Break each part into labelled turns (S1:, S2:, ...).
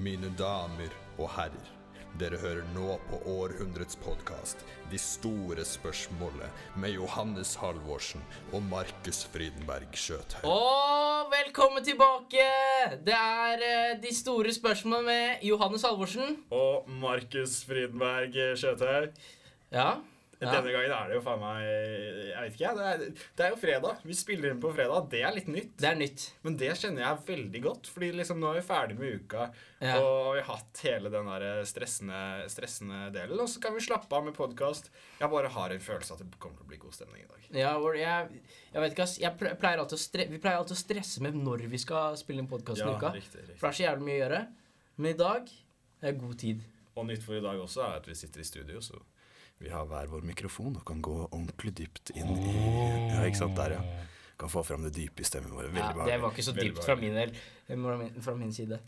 S1: Mine damer og herrer, dere hører nå på århundrets podkast De store spørsmålet med Johannes Halvorsen og Markus Frydenberg Skjøthaug.
S2: Og velkommen tilbake! Det er eh, de store spørsmålene med Johannes Halvorsen.
S3: Og Markus Fridberg Skjøthaug.
S2: Ja. ja.
S3: Denne gangen er det jo faen meg Jeg vet ikke, jeg. Det er, det er jo fredag. Vi spiller inn på fredag. Det er litt nytt.
S2: Det er nytt.
S3: Men det kjenner jeg veldig godt, fordi liksom nå er vi ferdig med uka.
S2: Ja.
S3: Og vi har hatt hele den der stressende, stressende delen. Og så kan vi slappe av med podkast. Jeg bare har en følelse av at det kommer til å bli god stemning i dag.
S2: Ja, hvor jeg, jeg vet ikke, ass. Jeg ple- pleier alltid å stre vi pleier alltid å stresse med når vi skal spille inn podkasten
S3: Ja,
S2: i uka.
S3: riktig, riktig.
S2: For det er så jævlig mye å gjøre. Men i dag det er god tid.
S3: Og nytt for i dag også er at vi sitter i studio, så vi har hver vår mikrofon og kan gå ordentlig dypt inn i Ja, ikke sant? Der, ja. Kan få fram det dype i stemmen vår. Veldig
S2: Ja, det var ikke så
S3: Veldig Mm.
S2: dypt fra min del. eh, Fra min, fra min side.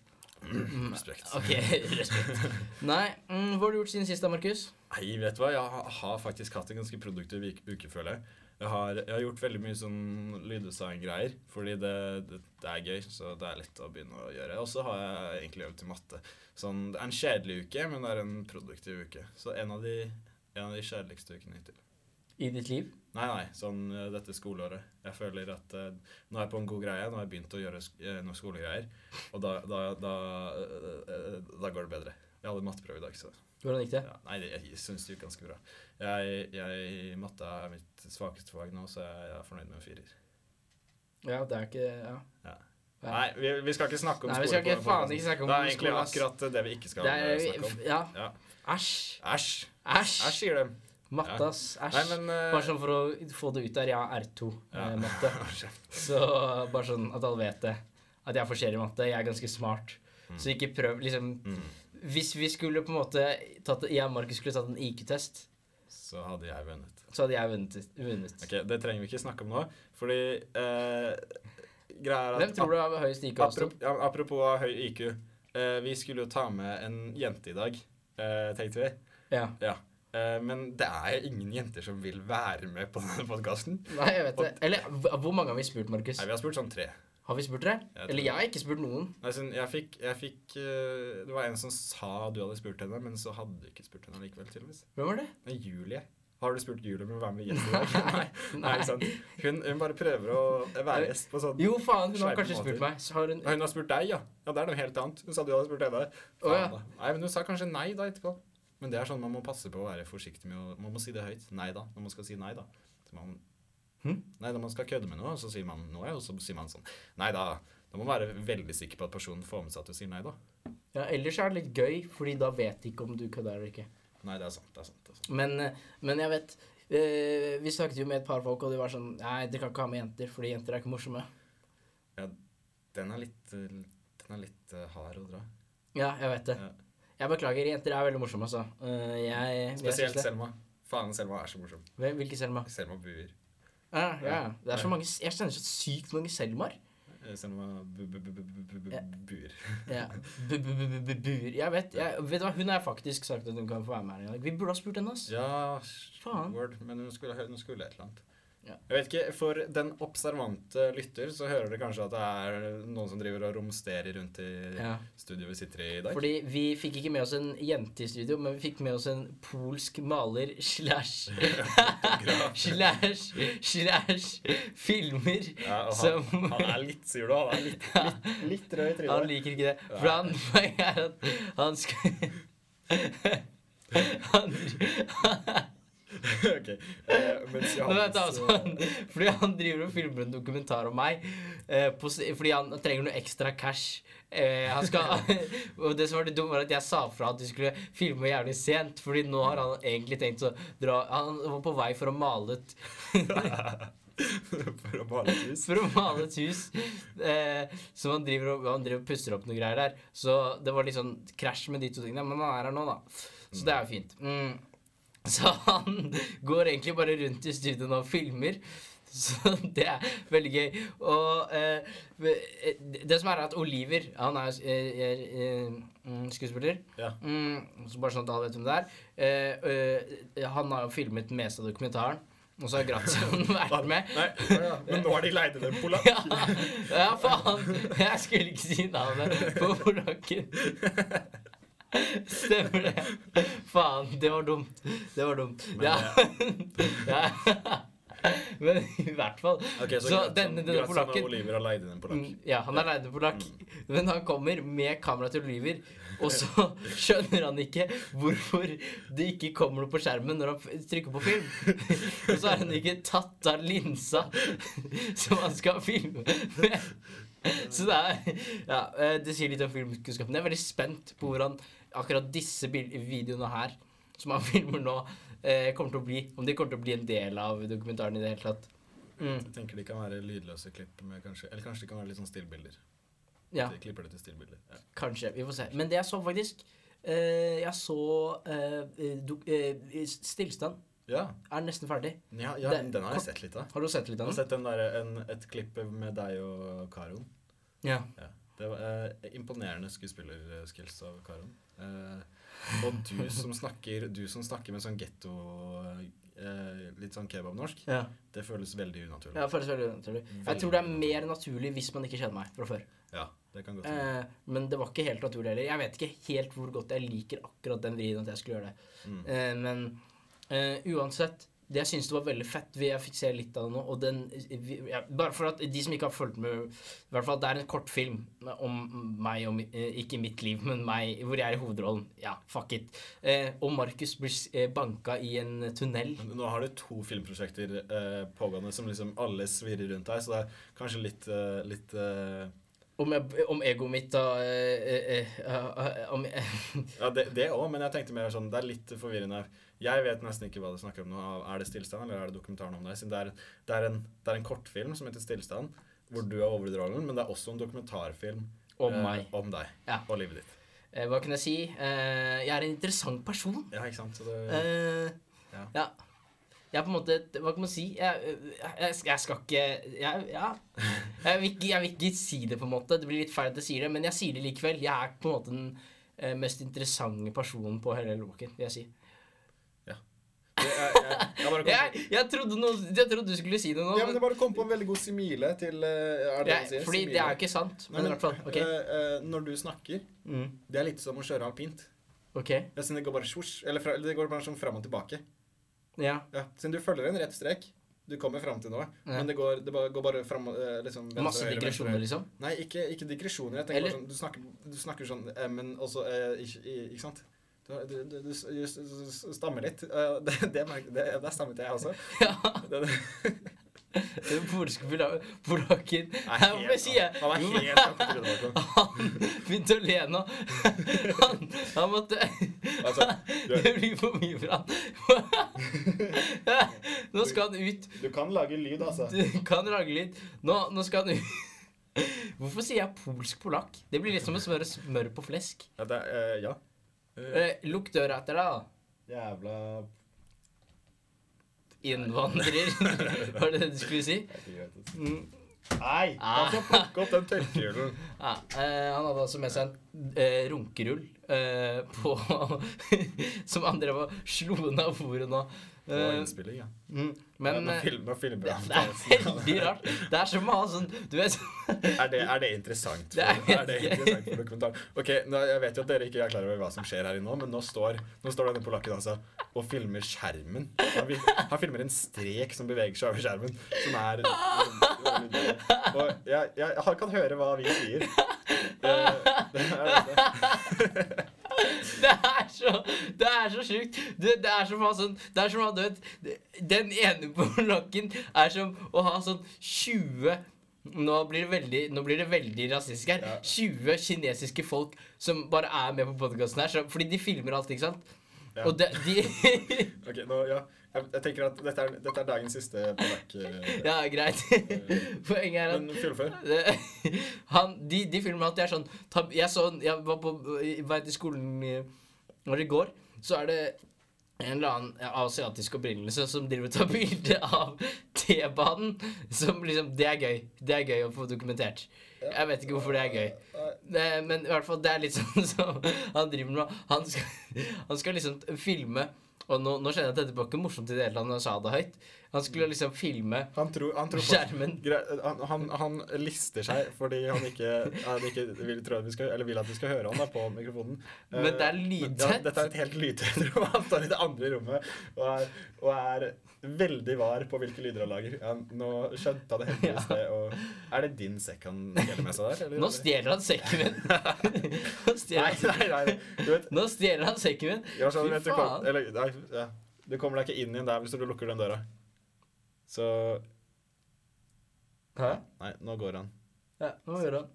S2: Mm.
S3: behagelig. Respekt.
S2: Ok, respekt. Nei, mm, hva har du gjort siden sist da, Markus?
S3: Nei, vet du hva? Jeg ha- har faktisk hatt en ganske produktiv uke, uke, føler jeg. Jeg har, jeg har gjort veldig mye sånn lyddesign-greier, fordi det, det, det er gøy, så det er lett å begynne å gjøre. Og så har jeg egentlig øvd i matte. Sånn, det er en kjedelig uke, men det er en produktiv uke. Så en av de, en av de kjedeligste ukene hittil.
S2: I ditt liv?
S3: Nei, nei, sånn eh, dette skoleåret. Jeg føler at eh, nå er jeg på en god greie. Nå har jeg begynt å gjøre sk eh, noen skolegreier. Og da, da, da, eh, eh, da går det bedre. Jeg hadde matteprøve i dag, så
S2: Hvordan gikk det?
S3: ja, Nei, det- jeg syns det gikk ganske bra. Jeg, jeg Matte er mitt svakeste fag nå, så jeg er fornøyd med en firer.
S2: Ja, det er ikke Ja.
S3: Ja.
S2: Ja.
S3: Nei, vi, vi skal ikke snakke om
S2: Nei, vi
S3: skole
S2: skal ikke
S3: på-
S2: faen ikke snakke om
S3: Det er egentlig
S2: skole, ass.
S3: akkurat det vi ikke skal
S2: Det er,
S3: eh, snakke om.
S2: ja.
S3: Ja.
S2: Æsj.
S3: Æsj.
S2: Æsj.
S3: Æsj, sier de.
S2: Matte, ass.
S3: Nei,
S2: Æsj.
S3: men eh,
S2: Bare sånn for å få det ut der. Jeg har
S3: Ja.
S2: R2-matte. Så bare sånn at alle vet det. At jeg forserer matte. Jeg er ganske smart. Så ikke prøv liksom
S3: Mm.
S2: Hvis vi skulle på en måte tatt Jeg og Markus skulle tatt en IQ-test,
S3: Så hadde jeg vunnet.
S2: så hadde jeg vunnet. vunnet.
S3: Ok, Det trenger vi ikke snakke om nå, fordi eh, greia er
S2: Hvem
S3: at
S2: tror du har høyest IQ? Aston?
S3: Apropos, ja, apropos høy IQ. eh, vi skulle jo ta med en jente i dag, eh, tenkte vi.
S2: Ja.
S3: Ja. Eh, men det er ingen jenter som vil være med på denne podkasten.
S2: Nei, jeg vet det. Eller hv- hvor mange har vi spurt, Markus?
S3: Nei, vi har spurt sånn tre.
S2: Har vi spurt dere?
S3: Jeg tror-
S2: Eller jeg har ikke spurt noen.
S3: Nei, sånn, jeg fikk, jeg fikk eh, Det var en som sa du hadde spurt henne, men så hadde du ikke spurt henne likevel, tydeligvis.
S2: Hvem var det?
S3: Nei, Julie. Har du spurt Julie om å være med gjest i dag? Nei. Nei, ikke sant. Hun, hun bare prøver å være gjest på sånn
S2: Jo, faen, hun har
S3: Skjerpe
S2: kanskje
S3: måter.
S2: spurt meg. Så har hun
S3: Nei, Hun har spurt deg, ja. Ja, Det er noe helt annet. Hun sa du hadde spurt henne. Faen,
S2: Å, ja.
S3: da. Nei, men hun sa kanskje nei da etterpå. Men det er sånn man må passe på å være forsiktig med å Man må si det høyt. Nei da. Når man skal si nei, da. Så man,
S2: Hm?
S3: Nei, når man skal kødde med noe, så sier man noe, og så sier man sånn Nei da. Da må man være veldig sikker på at personen får med seg at du sier nei, da.
S2: Ja, ellers er det litt gøy, fordi da vet de ikke om du kødder eller ikke.
S3: Nei, det er sant. Det er sant. Det er sant.
S2: Men, eh, men jeg vet eh, Vi snakket jo med et par folk, og de var sånn Nei, dere kan ikke ha med jenter, fordi jenter er ikke morsomme.
S3: Ja, den er litt eh, Den er litt eh, hard å dra.
S2: Ja, jeg vet det.
S3: Ja.
S2: Jeg beklager, jenter er veldig morsomme, altså. Eh, jeg, jeg
S3: Spesielt
S2: synes det.
S3: Selma. Faen, Selma er så morsom.
S2: Hvem- Hvilke Selma?
S3: Selma buer.
S2: Ah, ja, ja. Det er så
S3: Ja.
S2: mange Jeg kjenner så sykt mange Selmaer.
S3: Eh, Selma bu- bu- bu- bu- bu- bu-
S2: Ja.
S3: bu- buer.
S2: Ja. Bu-bu-bu-buer. Jeg vet jeg, Vet du hva, hun har faktisk sagt at hun kan få være med her i dag. Vi burde ha spurt henne, ass.
S3: Ja,
S2: Faen.
S3: word, men hun skulle, hun skulle et eller annet.
S2: Ja.
S3: Jeg vet ikke, For den observante lytter så hører dere kanskje at det er noen som driver og romsterer rundt i
S2: Ja.
S3: studioet vi sitter i i dag.
S2: Fordi vi fikk ikke med oss en jente i studio, men vi fikk med oss en polsk maler slash Slash slash filmer
S3: ja, og han,
S2: som
S3: han er litt, sier du, han er litt, litt, litt rød i
S2: Han
S3: trynet.
S2: liker ikke det. For han poenget er at han skal han,
S3: Ok, eh, mens
S2: Men vent,
S3: Johannes,
S2: altså, han, fordi han driver og filmer en dokumentar om meg eh, på, s- fordi han trenger noe ekstra cash. Eh, han skal, og det som var det dumme, var at jeg sa fra at vi skulle filme jævlig sent. Fordi nå har han egentlig tenkt å dra Han var på vei for å male et,
S3: For å male et hus.
S2: for å male et hus. Eh, så han driver, og, han driver og pusser opp noen greier der. Så det var litt sånn krasj med de to tingene. Men han er her nå, da. Så det er jo fint. Mm. Så han går egentlig bare rundt i studio nå og filmer. Så det er veldig gøy. Og eh, det som er, er at Oliver, han er, eh, er, eh, mm, skuespiller.
S3: Ja.
S2: Mm, så bare sånn at alle vet hvem det er. Eh, eh, han har jo filmet mest av dokumentaren. Og så har Gratian vært med.
S3: Nei, men nå har de leid inn en polakk.
S2: Ja, ja, faen! Jeg skulle ikke si navnet på polakken. Stemmer det. Faen, det var dumt. Det var dumt.
S3: Men
S2: Ja. ja. Men i hvert fall.
S3: eh, Ok, Sånn
S2: så
S3: Grazan-
S2: denne, denne
S3: Grazan og
S2: polakken
S3: Oliver har leid inn en polakk.
S2: Mm, Ja, han er leid polakk. Men han kommer med kamera til Oliver, og så skjønner han ikke hvorfor det ikke kommer noe på skjermen når han f- trykker på film. Og så har han ikke tatt av linsa som han skal filme med. Så det er Ja, eh, det sier litt om filmkunnskapen. Jeg er veldig spent på hvordan akkurat disse bil- videoene her, som han filmer nå, eh, kommer til å bli. Om de kommer til å bli en del av dokumentaren i det hele tatt. Mm,
S3: Jeg tenker de kan være lydløse klipp med kanskje Eller kanskje de kan være litt sånn stillbilder.
S2: ja.
S3: De klipper det til stillbilder. Ja.
S2: Kanskje. Vi får se. Men det jeg så faktisk eh, Jeg så eh, dok- eh, Stillstand.
S3: Ja,
S2: Er nesten ferdig.
S3: ja, ja
S2: Det-
S3: den har
S2: kort-
S3: jeg sett litt av.
S2: Har du sett litt
S3: Jeg har
S2: av den?
S3: sett den der, en, et klipp med deg og Karon.
S2: Ja.
S3: Ja. Det var eh, imponerende skuespillerskills av Karon. Eh, og du som snakker Du som snakker med sånn getto eh, Litt sånn kebabnorsk,
S2: ja.
S3: det føles veldig unaturlig.
S2: Det føles veldig naturlig. Jeg tror det er mer naturlig hvis man ikke kjenner meg fra før.
S3: Ja, det kan godt hende.
S2: Eh, men det var ikke helt naturlig heller. Jeg vet ikke helt hvor godt jeg liker akkurat den vrien at jeg skulle gjøre det.
S3: Mm.
S2: Eh, men eh, uansett det jeg syns det var veldig fett. vi- Jeg fikk se litt av det nå. Og den, vi- ja, bare for at de som ikke har fulgt med i hvert fall Det er en kortfilm om meg, om, eh, ikke mitt liv, men meg, hvor jeg er i hovedrollen. Ja, fuck it. Eh, og Markus blir s- eh, banka i en tunnel.
S3: Men Nå har du to filmprosjekter eh, pågående som liksom alle svirrer rundt deg, så det er kanskje litt, eh, litt eh,
S2: Om, jeg- om egoet mitt da eh, eh, eh, om,
S3: Ja, det, det òg, men jeg tenkte mer sånn Det er litt forvirrende. Jeg vet nesten ikke hva du snakker om nå. Er det stillstand, eller er det dokumentaren om deg? Siden det er, det er, en, det er en kortfilm som heter Stillstand, hvor du er hovedrollen, men det er også en dokumentarfilm
S2: Om
S3: eh,
S2: meg.
S3: om deg
S2: Ja.
S3: og livet ditt.
S2: eh, Hva kan jeg si? Eh, jeg er en interessant person.
S3: Ja, ikke sant? Så det,
S2: Eh,
S3: Ja.
S2: ja. Jeg er på en måte Hva kan man si? Jeg, jeg, jeg skal ikke jeg, ja. jeg, vil ikke, jeg vil ikke si det, på en måte. Det blir litt feil at jeg sier det, men jeg sier det likevel. Jeg er på en måte den eh, mest interessante personen på hele Loken, vil jeg si.
S3: det, jeg, jeg, jeg bare kom på,
S2: Jeg, jeg, trodde noe, jeg trodde du skulle si det nå.
S3: ja, men
S2: men,
S3: det bare kom på en veldig god simile til eh, Er det det
S2: jeg,
S3: du sier?
S2: fordi
S3: Simile.
S2: det er jo ikke sant.
S3: Nei,
S2: Men i hvert fall. Ok.
S3: eh, eh, Når du snakker,
S2: Mm,
S3: det er litt som å kjøre alpint.
S2: ok.
S3: Ja, siden det går bare svosj, eller fra, det går bare sånn fram og tilbake.
S2: Ja.
S3: Ja, siden du følger en rett strek. Du kommer fram til noe,
S2: Ja.
S3: men det går, det bare, går bare fram og eh, liksom venstre,
S2: Masse
S3: høyre, venstre,
S2: digresjoner,
S3: høyre.
S2: liksom.
S3: Nei, ikke, ikke digresjoner. Jeg tenker
S2: Eller-
S3: bare sånn, du snakker, du snakker sånn eh, Men også eh, ikke, i- ikke sant? Du, du, du, du, s- du s- s- stammer litt. Eh, det, det, merk- det, der stammet jeg også. Det, det,
S2: Polske pola- polakken
S3: Nei,
S2: Jeg må bare si jeg-
S3: han er
S2: Jo,
S3: helt oppe til grunnen, Marco.
S2: Han begynte å le nå. Han, han måtte
S3: Altså, du,
S2: Det blir for mye for han. Nå skal han ut.
S3: du kan lage lyd, altså.
S2: Du kan lage lyd. Nå, nå skal han ut. Hvorfor sier jeg polsk polakk? Det blir litt som å smøre smør på flesk.
S3: Ja, det, er, eh, ja. Eh,
S2: Eh, Lukk døra etter deg, da.
S3: Jævla
S2: Innvandrer. Var det det du skulle si?
S3: Jeg vet ikke hva det heter.
S2: Mm.
S3: Nei!
S2: Ah.
S3: Altså, plukk opp den tørkehjulen.
S2: Ja, eh, han hadde altså med seg en eh, runkerull eh, på Som han drev og slo ned av bordet nå.
S3: På
S2: Eh,
S3: innspilling, ja.
S2: mm,
S3: Men,
S2: men
S3: nå
S2: eh,
S3: film, nå filmer
S2: Det
S3: han.
S2: det er veldig rart. Det er som å ha sånn Du vet
S3: Er det, er det interessant? For,
S2: Det er-
S3: er, det interessant for dokumentar? Ok, nå, Jeg vet jo at dere ikke er klar over hva som skjer her inne nå, men nå står, nå står denne polakken altså og filmer skjermen. Han, vil, han filmer en strek som beveger seg over skjermen, som er Og jeg, jeg, han kan høre hva vi sier. Eh, Det er dette.
S2: Det er så Det er så sjukt. Det, det er som å ha sånn Det er som å ha du vet det- Den ene polakken er som å ha sånn 20 nå blir, det veldig, nå blir det veldig rasistisk her.
S3: Ja.
S2: 20 kinesiske folk som bare er med på podkasten her. Så, fordi de filmer alt, ikke sant?
S3: Ja.
S2: Og de, de
S3: Ok, nå, ja. jeg, jeg tenker at dette er, dette er dagens siste polakk. eh,
S2: Ja, greit. Poenget er at
S3: Men fullfør.
S2: Det- han, de, de filmer at de er sånn ta, jeg, så, jeg var på i vei til skolen i- når i går, så er det en eller annen asiatisk opprinnelse som driver og tar bilde av T-banen. Som liksom Det er gøy. Det er gøy å få dokumentert. Jeg vet ikke hvorfor det er gøy.
S3: eh,
S2: Det, men i hvert fall, det er litt sånn som han driver med. Han skal, han skal liksom filme, og Og nå, nå skjønner jeg at dette var ikke morsomt i det hele tatt når jeg sa det høyt. Han skulle
S3: Mm.
S2: liksom filme
S3: Han tror, han tror på
S2: skjermen.
S3: Gre- han, han, han lister seg fordi han ikke, han ikke vil, tro at vi skal, eller vil at vi skal høre han da på mikrofonen. Eh,
S2: Men det er
S3: men- Ja,
S2: lydtett.
S3: dette er et helt lydtett rom. Han står i det andre rommet og er, og er veldig var på hvilke lyder han lager. Ja, nå skjønte han det heldigvis det. Og er det din sekk han deler med seg der? eller?
S2: Nå stjeler han sekken min. Nå stjeler
S3: Nei,
S2: han
S3: nei, nei. Du vet,
S2: Nå stjeler han sekken min.
S3: jeg var sånn,
S2: Fy
S3: vet du, kom,
S2: faen.
S3: eller, nei, ja. du kommer deg ikke inn igjen der hvis du lukker den døra. Så
S2: Hæ?
S3: Nei, nå går han.
S2: Ja, nå gjør han.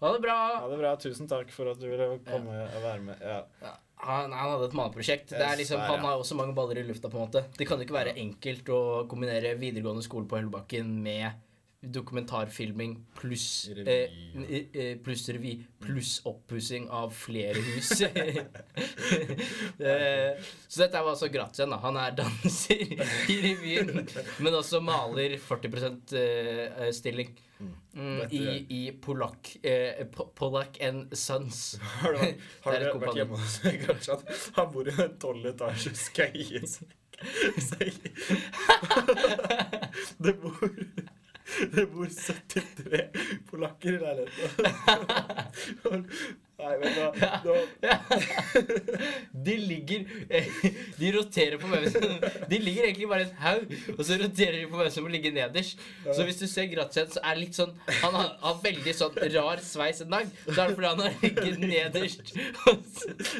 S2: Ha det bra.
S3: Ja, det er bra. Tusen takk for at du ville komme og være med. Ja.
S2: Ja, Han, han hadde et maneprosjekt. Det er liksom,
S3: Dessverre.
S2: han har jo også mange baller i lufta. på en måte. Det kan jo ikke være enkelt å kombinere videregående skole på Hellebakken med dokumentarfilming pluss
S3: Revy,
S2: eh,
S3: ja.
S2: n- eh, pluss revy pluss oppussing av flere hus. eh, så dette var altså gratis. igjen, da. Han er danser i revyen, men også maler 40 eh, stilling. Mm,
S3: Dette
S2: I
S3: gjør-
S2: i Polak, eh, Po- Polak and Sons.
S3: Har du, har
S2: Det er
S3: du
S2: et
S3: vært
S2: kompani.
S3: hjemme hos Grasjan? Han bor i en tolv etasjes kaiesekk. Det bor det bor 73 polakker i leiligheten. Nei, men da, da
S2: De ligger eh, De roterer på hvem som De ligger egentlig bare i en haug, og så roterer de på hvem som må ligge nederst. Så hvis du ser Grazien, så er det litt sånn Han har, har veldig sånn rar sveis en dag. Så er det fordi han har ligget nederst og, s-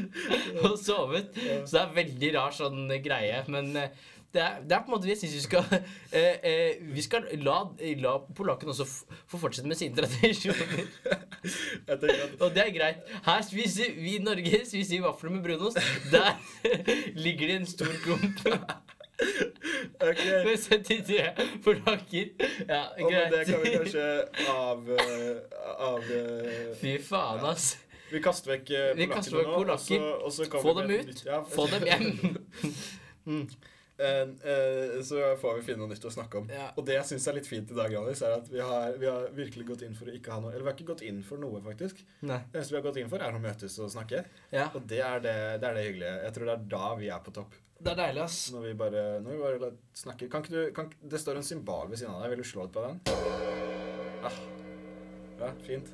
S2: og sovet. Så det er veldig rar sånn greie. Men eh, det er, det er på en måte det jeg syns vi skal eh, eh, Vi skal la, la polakken også f få fortsette med sine tradisjoner.
S3: jeg tenker at
S2: Og det er greit. Her spiser vi i Norge spiser vi vafler med brunost. Der ligger det en stor klump
S3: Ok,
S2: med 73 polakker. Ja,
S3: og med det kan vi
S2: greit.
S3: kanskje av, eh, av eh,
S2: Fy faen, ass.
S3: Vi kaster vekk eh,
S2: Vi kaster
S3: polakkene
S2: vekk
S3: nå. og så- og
S2: polakker.
S3: så kommer
S2: Få
S3: vi
S2: dem
S3: med et
S2: ut.
S3: nytt- ja.
S2: Få dem hjem.
S3: Eh, eh, så får vi finne noe nytt å snakke om.
S2: Ja.
S3: Og det jeg syns er litt fint i dag, Johannes, er at vi har, vi har virkelig gått inn for å ikke ha noe Eller vi har ikke gått inn for noe, faktisk.
S2: Nei.
S3: Det eneste vi har gått inn for, er å møtes og snakke.
S2: Ja,
S3: Og det er det, det er det hyggelige. Jeg tror det er da vi er på topp.
S2: det er deilig, ass.
S3: Når vi bare, når vi bare snakker kan ikke du, kan, ikke- Det står en symbal ved siden av deg. Vil du slå litt på den? Ah. Ja, fint.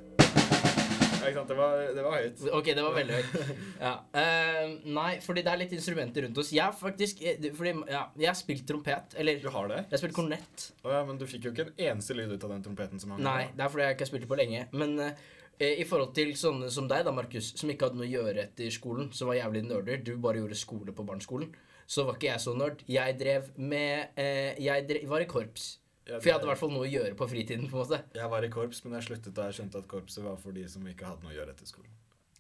S3: Ja, ikke sant. Det var, det var høyt.
S2: Ok, det var veldig høyt. Ja. Eh, nei, fordi det er litt instrumenter rundt oss. Jeg har faktisk eh, det- Fordi, ja, jeg har spilt trompet. Eller
S3: Du har det?
S2: jeg har spilt kornett.
S3: Å ja, men du fikk jo ikke en eneste lyd ut av den trompeten som hang
S2: Nei,
S3: der.
S2: det er fordi jeg ikke har spilt det på lenge. Men eh, i forhold til sånne som deg, da, Markus, som ikke hadde noe å gjøre etter skolen, som var jævlig nerder, du bare gjorde skole på barneskolen, så var ikke jeg så nerd. Jeg drev med eh, Jeg drev, var i korps.
S3: Ja,
S2: For jeg
S3: det-
S2: hadde i hvert fall noe å gjøre på fritiden, på en måte.
S3: Jeg var i korps, men jeg sluttet da jeg skjønte at korpset var for de som ikke hadde noe å gjøre etter skolen.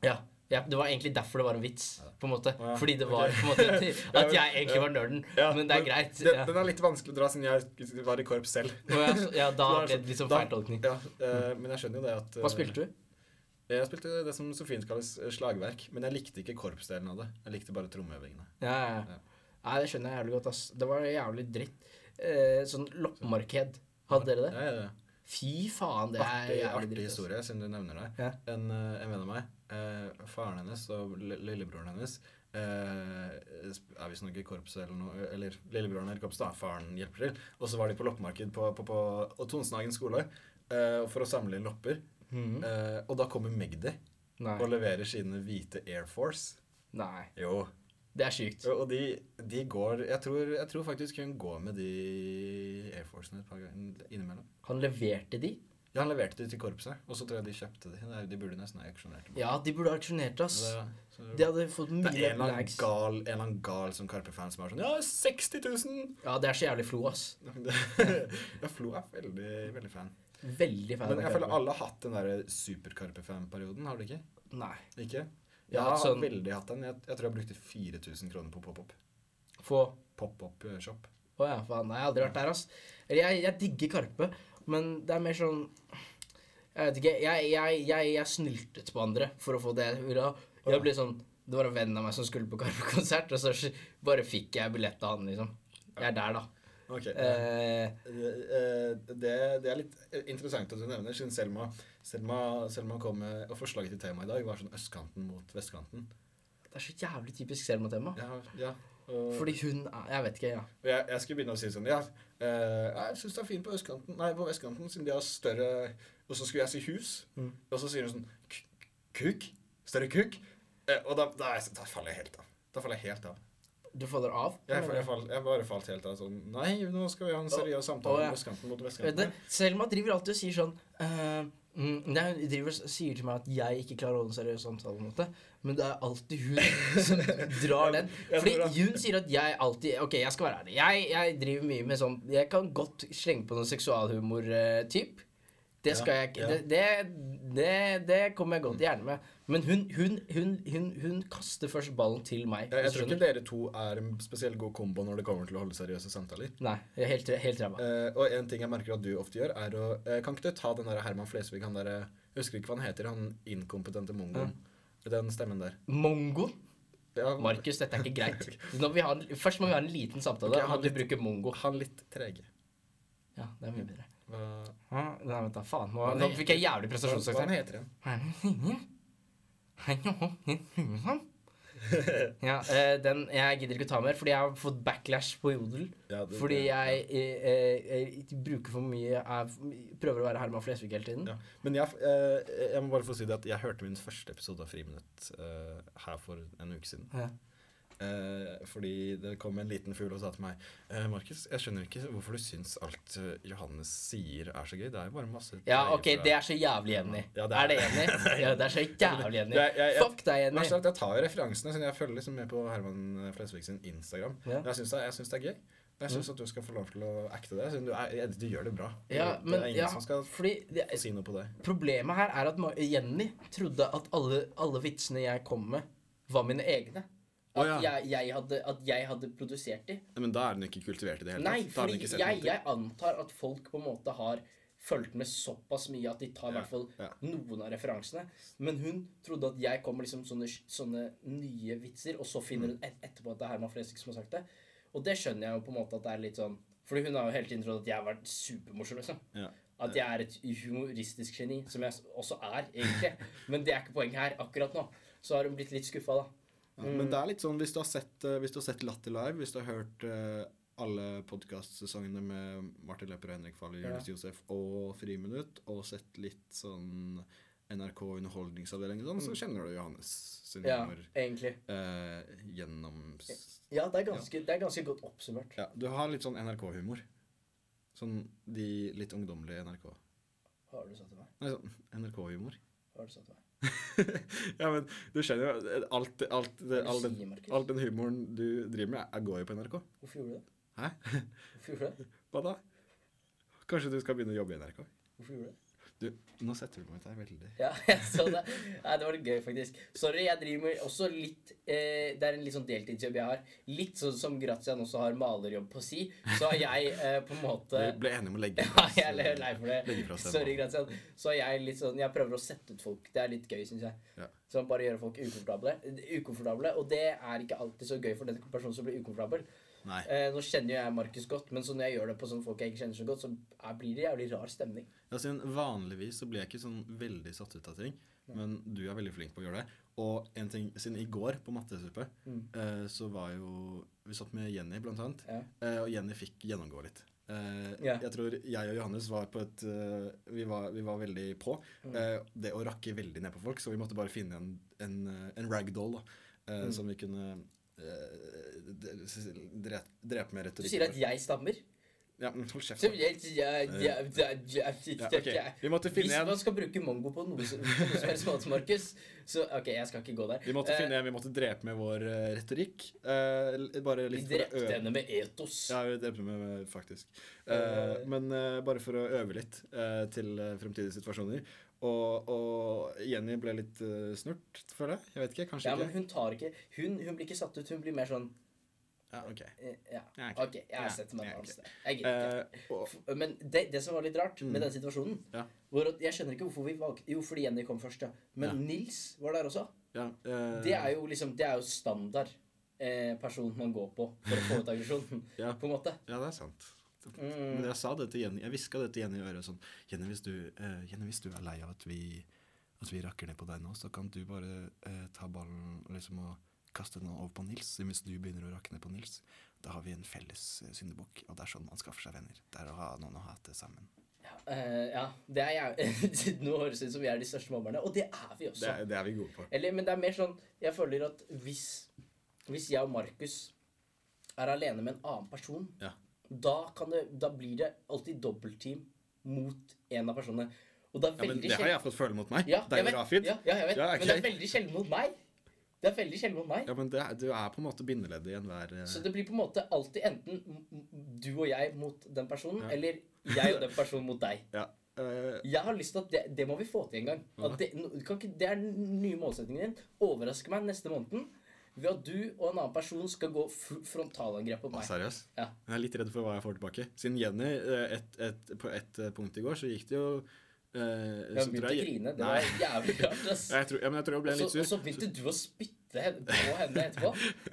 S2: Ja. ja. Det var egentlig derfor det var en vits, på en måte.
S3: Å ja,
S2: Fordi det
S3: ok.
S2: var på en måte
S3: Ja,
S2: at
S3: men-
S2: jeg egentlig var nerden. Men det er greit.
S3: Den,
S2: Ja.
S3: den er litt vanskelig å dra siden jeg var i korps selv.
S2: Å ja, så- ja, da
S3: Så er
S2: ble
S3: det
S2: det litt sånn
S3: da-
S2: feil tolkning.
S3: Ja, eh, men jeg skjønner jo det at
S2: Mm. Hva spilte du?
S3: du? Jeg spilte det som Sofien kalles eh, slagverk, men jeg likte ikke korpsdelen av det. Jeg likte bare trommeøvingene.
S2: Ja, ja, ja. Nei, det skjønner jeg jævlig godt, ass. Det var jævlig dritt. Eh, sånn loppemarked. Hadde dere det?
S3: Ja, ja, ja.
S2: Fy faen, det er
S3: Artig,
S2: jævlig
S3: artig
S2: dritt, ass.
S3: historie, siden du nevner det.
S2: Ja.
S3: En, eh, en venn av meg, eh, faren hennes og li- lillebroren hennes eh, sp- er visstnok i korpset eller noe Eller lillebroren er i korpset, da. Faren hjelper til. Og så var de på loppemarked på, på, på og Tonsenhagen skole eh, for å samle inn lopper. Eh, og da kommer Magdi og
S2: Mhm. Nei.
S3: leverer sine hvite Air Force.
S2: Nei.
S3: Jo.
S2: Det er sykt.
S3: Og de, de går jeg tror, jeg tror faktisk hun går med de Air Forcene et par ganger innimellom.
S2: Han leverte de?
S3: Ja, han leverte de til korpset, og så tror jeg de kjøpte de. Nei, De burde nesten ha auksjonert dem.
S2: Ja, de burde ha auksjonert, ass.
S3: Så det- så
S2: De hadde fått
S3: det er
S2: mye
S3: en eller annen
S2: lags.
S3: gal, en eller annen gal som Karpe-fan som er sånn Ja, 60 000!
S2: Ja, det er så jævlig flo, ass.
S3: ja, Flo er veldig, veldig fan.
S2: Veldig fan
S3: Men
S2: av
S3: jeg føler
S2: Karpe.
S3: alle har hatt den der super-Karpe-fan-perioden, har du ikke?
S2: Nei.
S3: Ikke? Jeg
S2: Ja,
S3: har
S2: sånn-
S3: veldig hatt den. Jeg, jeg tror jeg brukte 4000 kroner på pop-up. eh,
S2: Få
S3: Pop-up-shop.
S2: Å ja, faen. Nei, jeg har aldri vært der, ass. Eller jeg, jeg digger Karpe, men det er mer sånn Jeg vet ikke. Jeg, jeg, jeg, jeg snyltet på andre for å få det jeg ville ha. Jeg ble sånn Det var en venn av meg som skulle på Karpe-konsert, og så bare fikk jeg billett av han, liksom. Jeg er der, da.
S3: Ok,
S2: Eh,
S3: Eh, Det, det er litt interessant at du nevner, siden Selma, Selma, Selma kom med Og forslaget til tema i dag var sånn østkanten mot vestkanten.
S2: det er så jævlig typisk Selma-tema.
S3: Ja, ja. Og
S2: Fordi hun er Jeg vet ikke, ja.
S3: og jeg, jeg skulle begynne å si sånn Ja, eh, jeg syns det er fint på østkanten Nei, på vestkanten, siden de har større Og så skulle jeg si hus,
S2: Mm.
S3: og så sier hun sånn "K- Kuk? Større kuk? Eh, og da, da, er jeg sånn, da faller jeg helt av. Da faller jeg helt av.
S2: Du faller av?
S3: Jeg,
S2: eller?
S3: jeg, fall, jeg bare falt helt av sånn Nei, nå skal vi ha en seriøs
S2: å,
S3: samtale
S2: ja.
S3: om østkanten mot
S2: Vet du,
S3: vestkanten.
S2: Selma driver alltid og sier sånn eh, mm, Nei, hun driver og s- sier til meg at jeg ikke klarer å holde en seriøs samtale, på en måte. Men det er alltid hun som drar den.
S3: Jeg
S2: Fordi
S3: tror det.
S2: hun sier at jeg alltid Ok, jeg skal være ærlig. Jeg, jeg driver mye med sånn Jeg kan godt slenge på noe seksualhumor-typ. Det
S3: Ja,
S2: skal jeg ikke
S3: ja.
S2: det, det, det, det kommer jeg godt gjerne med. Men hun, hun, hun, hun, hun kaster først ballen til
S3: Jeg,
S2: meg.
S3: jeg
S2: hvis du
S3: tror ikke
S2: skjønner.
S3: dere to er en spesielt god kombo når det kommer til å holde seriøse samtaler.
S2: Nei, jeg er helt, helt ræva.
S3: Eh, og en ting jeg merker at du ofte gjør, er å eh, Kan ikke du ta den der Herman Flesvig, han derre Jeg husker ikke hva han heter, han inkompetente mongoen.
S2: Mm.
S3: Den stemmen der.
S2: Mongoen
S3: Ja,
S2: Markus, dette er ikke greit. Nå må vi ha, en- først må vi ha en liten samtale.
S3: Ok, jeg
S2: Okay,
S3: har
S2: du
S3: litt-
S2: bruker mongo.
S3: Han litt trege.
S2: Ja, det er mye bedre.
S3: Hva,
S2: Hæ? Nei, vent da, faen. Nå,
S3: Hva
S2: nå
S3: heter-
S2: fikk jeg
S3: hva,
S2: jævlig
S3: hva
S2: prestasjonsangst her.
S3: heter han?
S2: Er det singel? Er det noe i huet sånn? Ja, eh, den Jeg gidder ikke ta mer, fordi jeg har fått backlash på Jodel.
S3: Ja, det-
S2: Fordi
S3: det-
S2: jeg eh, eh, bruker for mye Jeg prøver å være Herman Flesvig hele tiden.
S3: Ja. Men jeg, eh, jeg må bare få si det at jeg hørte min første episode av Friminutt eh, her for en uke siden.
S2: Ja.
S3: Eh, fordi det kom en liten fugl og sa til meg eh, Markus, jeg skjønner ikke hvorfor du syns alt eh, Johannes sier er så gøy. Det er jo bare masse
S2: Ja,
S3: treier
S2: OK,
S3: fra-
S2: det er så jævlig enig.
S3: Ja, det er-
S2: Er det enig? Ja, det er så jævlig enig.
S3: Jeg- jeg- jeg-
S2: Fuck
S3: Verst
S2: deg, Jenny.
S3: er sånn at jeg tar jo referansene, siden jeg følger liksom med på Herman Flesvig sin Instagram.
S2: Ja. Mm.
S3: Men jeg syns det, jeg synes det er gøy. Og jeg syns at du skal få lov til å acte det, siden du, er, du gjør det bra.
S2: Ja, men
S3: det er ingen
S2: ja,
S3: som skal
S2: fordi det,
S3: si noe på det.
S2: Problemet her er at Ma- Jenny trodde at alle, alle vitsene jeg kom med, var mine egne. At,
S3: Å, ja.
S2: jeg, jeg hadde, at jeg hadde produsert de.
S3: Men da er den ikke kultivert i det
S2: Nei, fordi jeg, jeg antar at folk på en måte har fulgt med såpass mye at de tar i
S3: Ja,
S2: hvert fall
S3: ja.
S2: noen av referansene. Men hun trodde at jeg kom med liksom sånne, sånne nye vitser, og så finner
S3: Mm.
S2: hun et, etterpå at det er Herman Flesvig som har sagt det. Og det skjønner jeg jo på en måte at det er litt sånn Fordi hun har jo hele tiden trodd at jeg har vært supermorsom, liksom.
S3: Ja.
S2: At jeg er et humoristisk geni, som jeg også er, egentlig. Men det er ikke poenget her akkurat nå. Så har hun blitt litt skuffa, da.
S4: Ja,
S2: Mm.
S4: Men det er litt sånn, hvis du har sett, eh, hvis du har sett Latter Live, hvis du har hørt eh, alle podkastsesongene med Martin Lepper og Henrik Farley, Jonis Josef og Friminutt, og sett litt sånn NRK Underholdningsavdeling og sånn, så kjenner du Johannes sin
S2: Mm. Ja,
S4: humor
S2: egentlig.
S4: eh, gjennom s-
S2: Ja, det er ganske, det er ganske godt oppsummert.
S4: Ja, du har litt sånn NRK-humor. Sånn de litt ungdommelige NRK.
S2: Har du sagt til meg?
S4: Nei, sånn NRK-humor.
S2: Har du sagt til meg?
S4: Ja, men du skjønner jo eh, alt, alt, det, all,
S2: Hva du sier,
S4: den,
S2: Markus?
S4: all den humoren du driver med, er- går jo på NRK.
S2: Hvorfor gjorde du det?
S4: Hæ?
S2: Hvorfor gjorde du det?
S4: Hva da? Kanskje du skal begynne å jobbe i NRK?
S2: Hvorfor gjorde du det?
S4: Du, nå setter du meg ut her veldig.
S2: Ja, jeg så det. Nei, det var litt gøy, faktisk. Sorry, jeg driver med også litt eh, Det er en litt sånn deltidsjobb jeg har. Litt sånn som Grazian også har malerjobb på si, så har jeg eh, på en måte
S4: Vi ble enige om å legge
S2: Ja, jeg er lei for det.
S4: Legge fra seg
S2: Sorry,
S4: nå.
S2: Grazian. Så jeg, er litt sånn, jeg prøver å sette ut folk. Det er litt gøy, syns jeg.
S4: Ja.
S2: Så bare gjøre folk ukomfortable. ukomfortable. Og det er ikke alltid så gøy for den personen som blir ukomfortabel.
S4: Nei.
S2: Eh, nå kjenner jo jeg Markus godt, men så når jeg gjør det på sånne folk jeg ikke kjenner så godt, så er, blir det jævlig rar stemning.
S4: Altså, vanligvis så blir jeg ikke sånn veldig satt ut av ting, men du er veldig flink på å gjøre det. Og en ting, siden i går på mattesuppe,
S2: Mm.
S4: eh, så var jo Vi satt med Jenny, blant annet,
S2: Ja.
S4: eh, og Jenny fikk gjennomgå litt. Eh,
S2: Ja.
S4: Jeg tror jeg og Johannes var på et eh, vi, var, vi var veldig på.
S2: Mm.
S4: Eh, det å rakke veldig ned på folk, så vi måtte bare finne en, en, eh, en ragdoll da, eh,
S2: Mm.
S4: som vi kunne eh, drepe, drepe med
S2: Du
S4: retorikk.
S2: sier at jeg stammer?
S4: Ja, men hold kjeft.
S2: Så
S4: da.
S2: jeg, jeg, jeg, jeg, jeg,
S4: Ja,
S2: jeg,
S4: ok. Vi måtte finne
S2: Hvis
S4: en-
S2: man skal bruke mongo på noe som, på noe som helst måte, Markus, så OK, jeg skal ikke gå der.
S4: Vi måtte
S2: Eh,
S4: finne en vi måtte drepe med vår eh, retorikk. Eh, l- bare
S2: Vi
S4: litt for å
S2: drepte
S4: øve.
S2: henne med etos.
S4: Ja, vi drepte med, med faktisk. Eh, men eh, bare for å øve litt eh, til eh, fremtidige situasjoner. Og, og Jenny ble litt eh, snurt, føler jeg. Jeg vet ikke, kanskje
S2: Ja, men
S4: ikke.
S2: hun tar ikke hun, hun blir ikke satt ut, hun blir mer sånn
S4: Ja, ok.
S2: eh, Ja,
S4: Ja, ok.
S2: OK,
S4: Ja,
S2: jeg setter meg
S4: ja,
S2: et
S4: ok.
S2: annet sted. Jeg gidder ikke.
S4: Eh, og,
S2: F- Men det, det som var litt rart med den situasjonen
S4: Ja.
S2: var at Jeg skjønner ikke hvorfor vi valgte Jo, fordi Jenny kom først, ja. Men
S4: Ja.
S2: Nils var der også.
S4: ja, eh,
S2: Det er jo liksom Det er jo standard eh, person man går på for å få ut aggresjon,
S4: Ja.
S2: på en måte.
S4: ja, det er sant.
S3: Mm.
S4: Men jeg sa det til Jenny, jeg hviska det til Jenny i øret sånn Jenny, hvis du, eh, Jenny, hvis du er lei av at vi, at vi rakker ned på deg nå, så kan du bare eh, ta ballen liksom og
S3: kaste den over på Nils, mens du begynner å rakne på Nils. Da har vi en felles eh, syndebukk, og det er sånn man skaffer seg venner. Det er å ha noen å hate sammen.
S2: Eh, ja, det er jeg. Nå høres det ut som vi er de største mobberne, og det er vi også.
S3: vi gode på.
S2: Eller, men det er mer sånn Jeg føler at hvis Hvis jeg og Markus er alene med en annen person,
S3: Ja.
S2: da, kan det, da blir det alltid dobbeltteam mot en av personene. Og det er
S3: Ja, men
S2: veldig
S3: det har jeg
S2: sjelden-
S3: fått føle mot meg.
S2: ja,
S3: Deg
S2: jeg
S3: og
S2: vet,
S3: Rafid.
S2: Ja, ja, jeg vet.
S3: Ja, ok.
S2: Men det er veldig sjelden mot meg. Det er veldig sjelden mot meg.
S3: Ja, men det, er- du er på en måte bindeleddet i enhver eh,
S2: Så det blir på en måte alltid enten m- m- du og jeg mot den personen, eller jeg og den personen mot deg.
S3: ja. Eh,
S2: Jeg har lyst til at det, det må vi få til en gang. At det, no- kan ikke, det er den nye målsettingen din. Overraske meg neste måneden ved at du og en annen person skal gå f frontalangrep på
S3: å,
S2: meg.
S3: seriøst?
S2: Ja.
S3: Jeg er litt redd for hva jeg får tilbake. Siden Jenny, eh, et, et, på ett eh, punkt i går, så gikk det jo eh,
S2: Jeg
S3: så
S2: begynte
S3: tror
S2: å
S3: jeg-
S2: grine. Det
S3: Nei.
S2: var jævlig rart. ass.
S3: Ja, Jeg tror, ja, men jeg tror jeg ble
S2: Og så-
S3: litt sur.
S2: og så begynte du å spytte hen- på henne etterpå.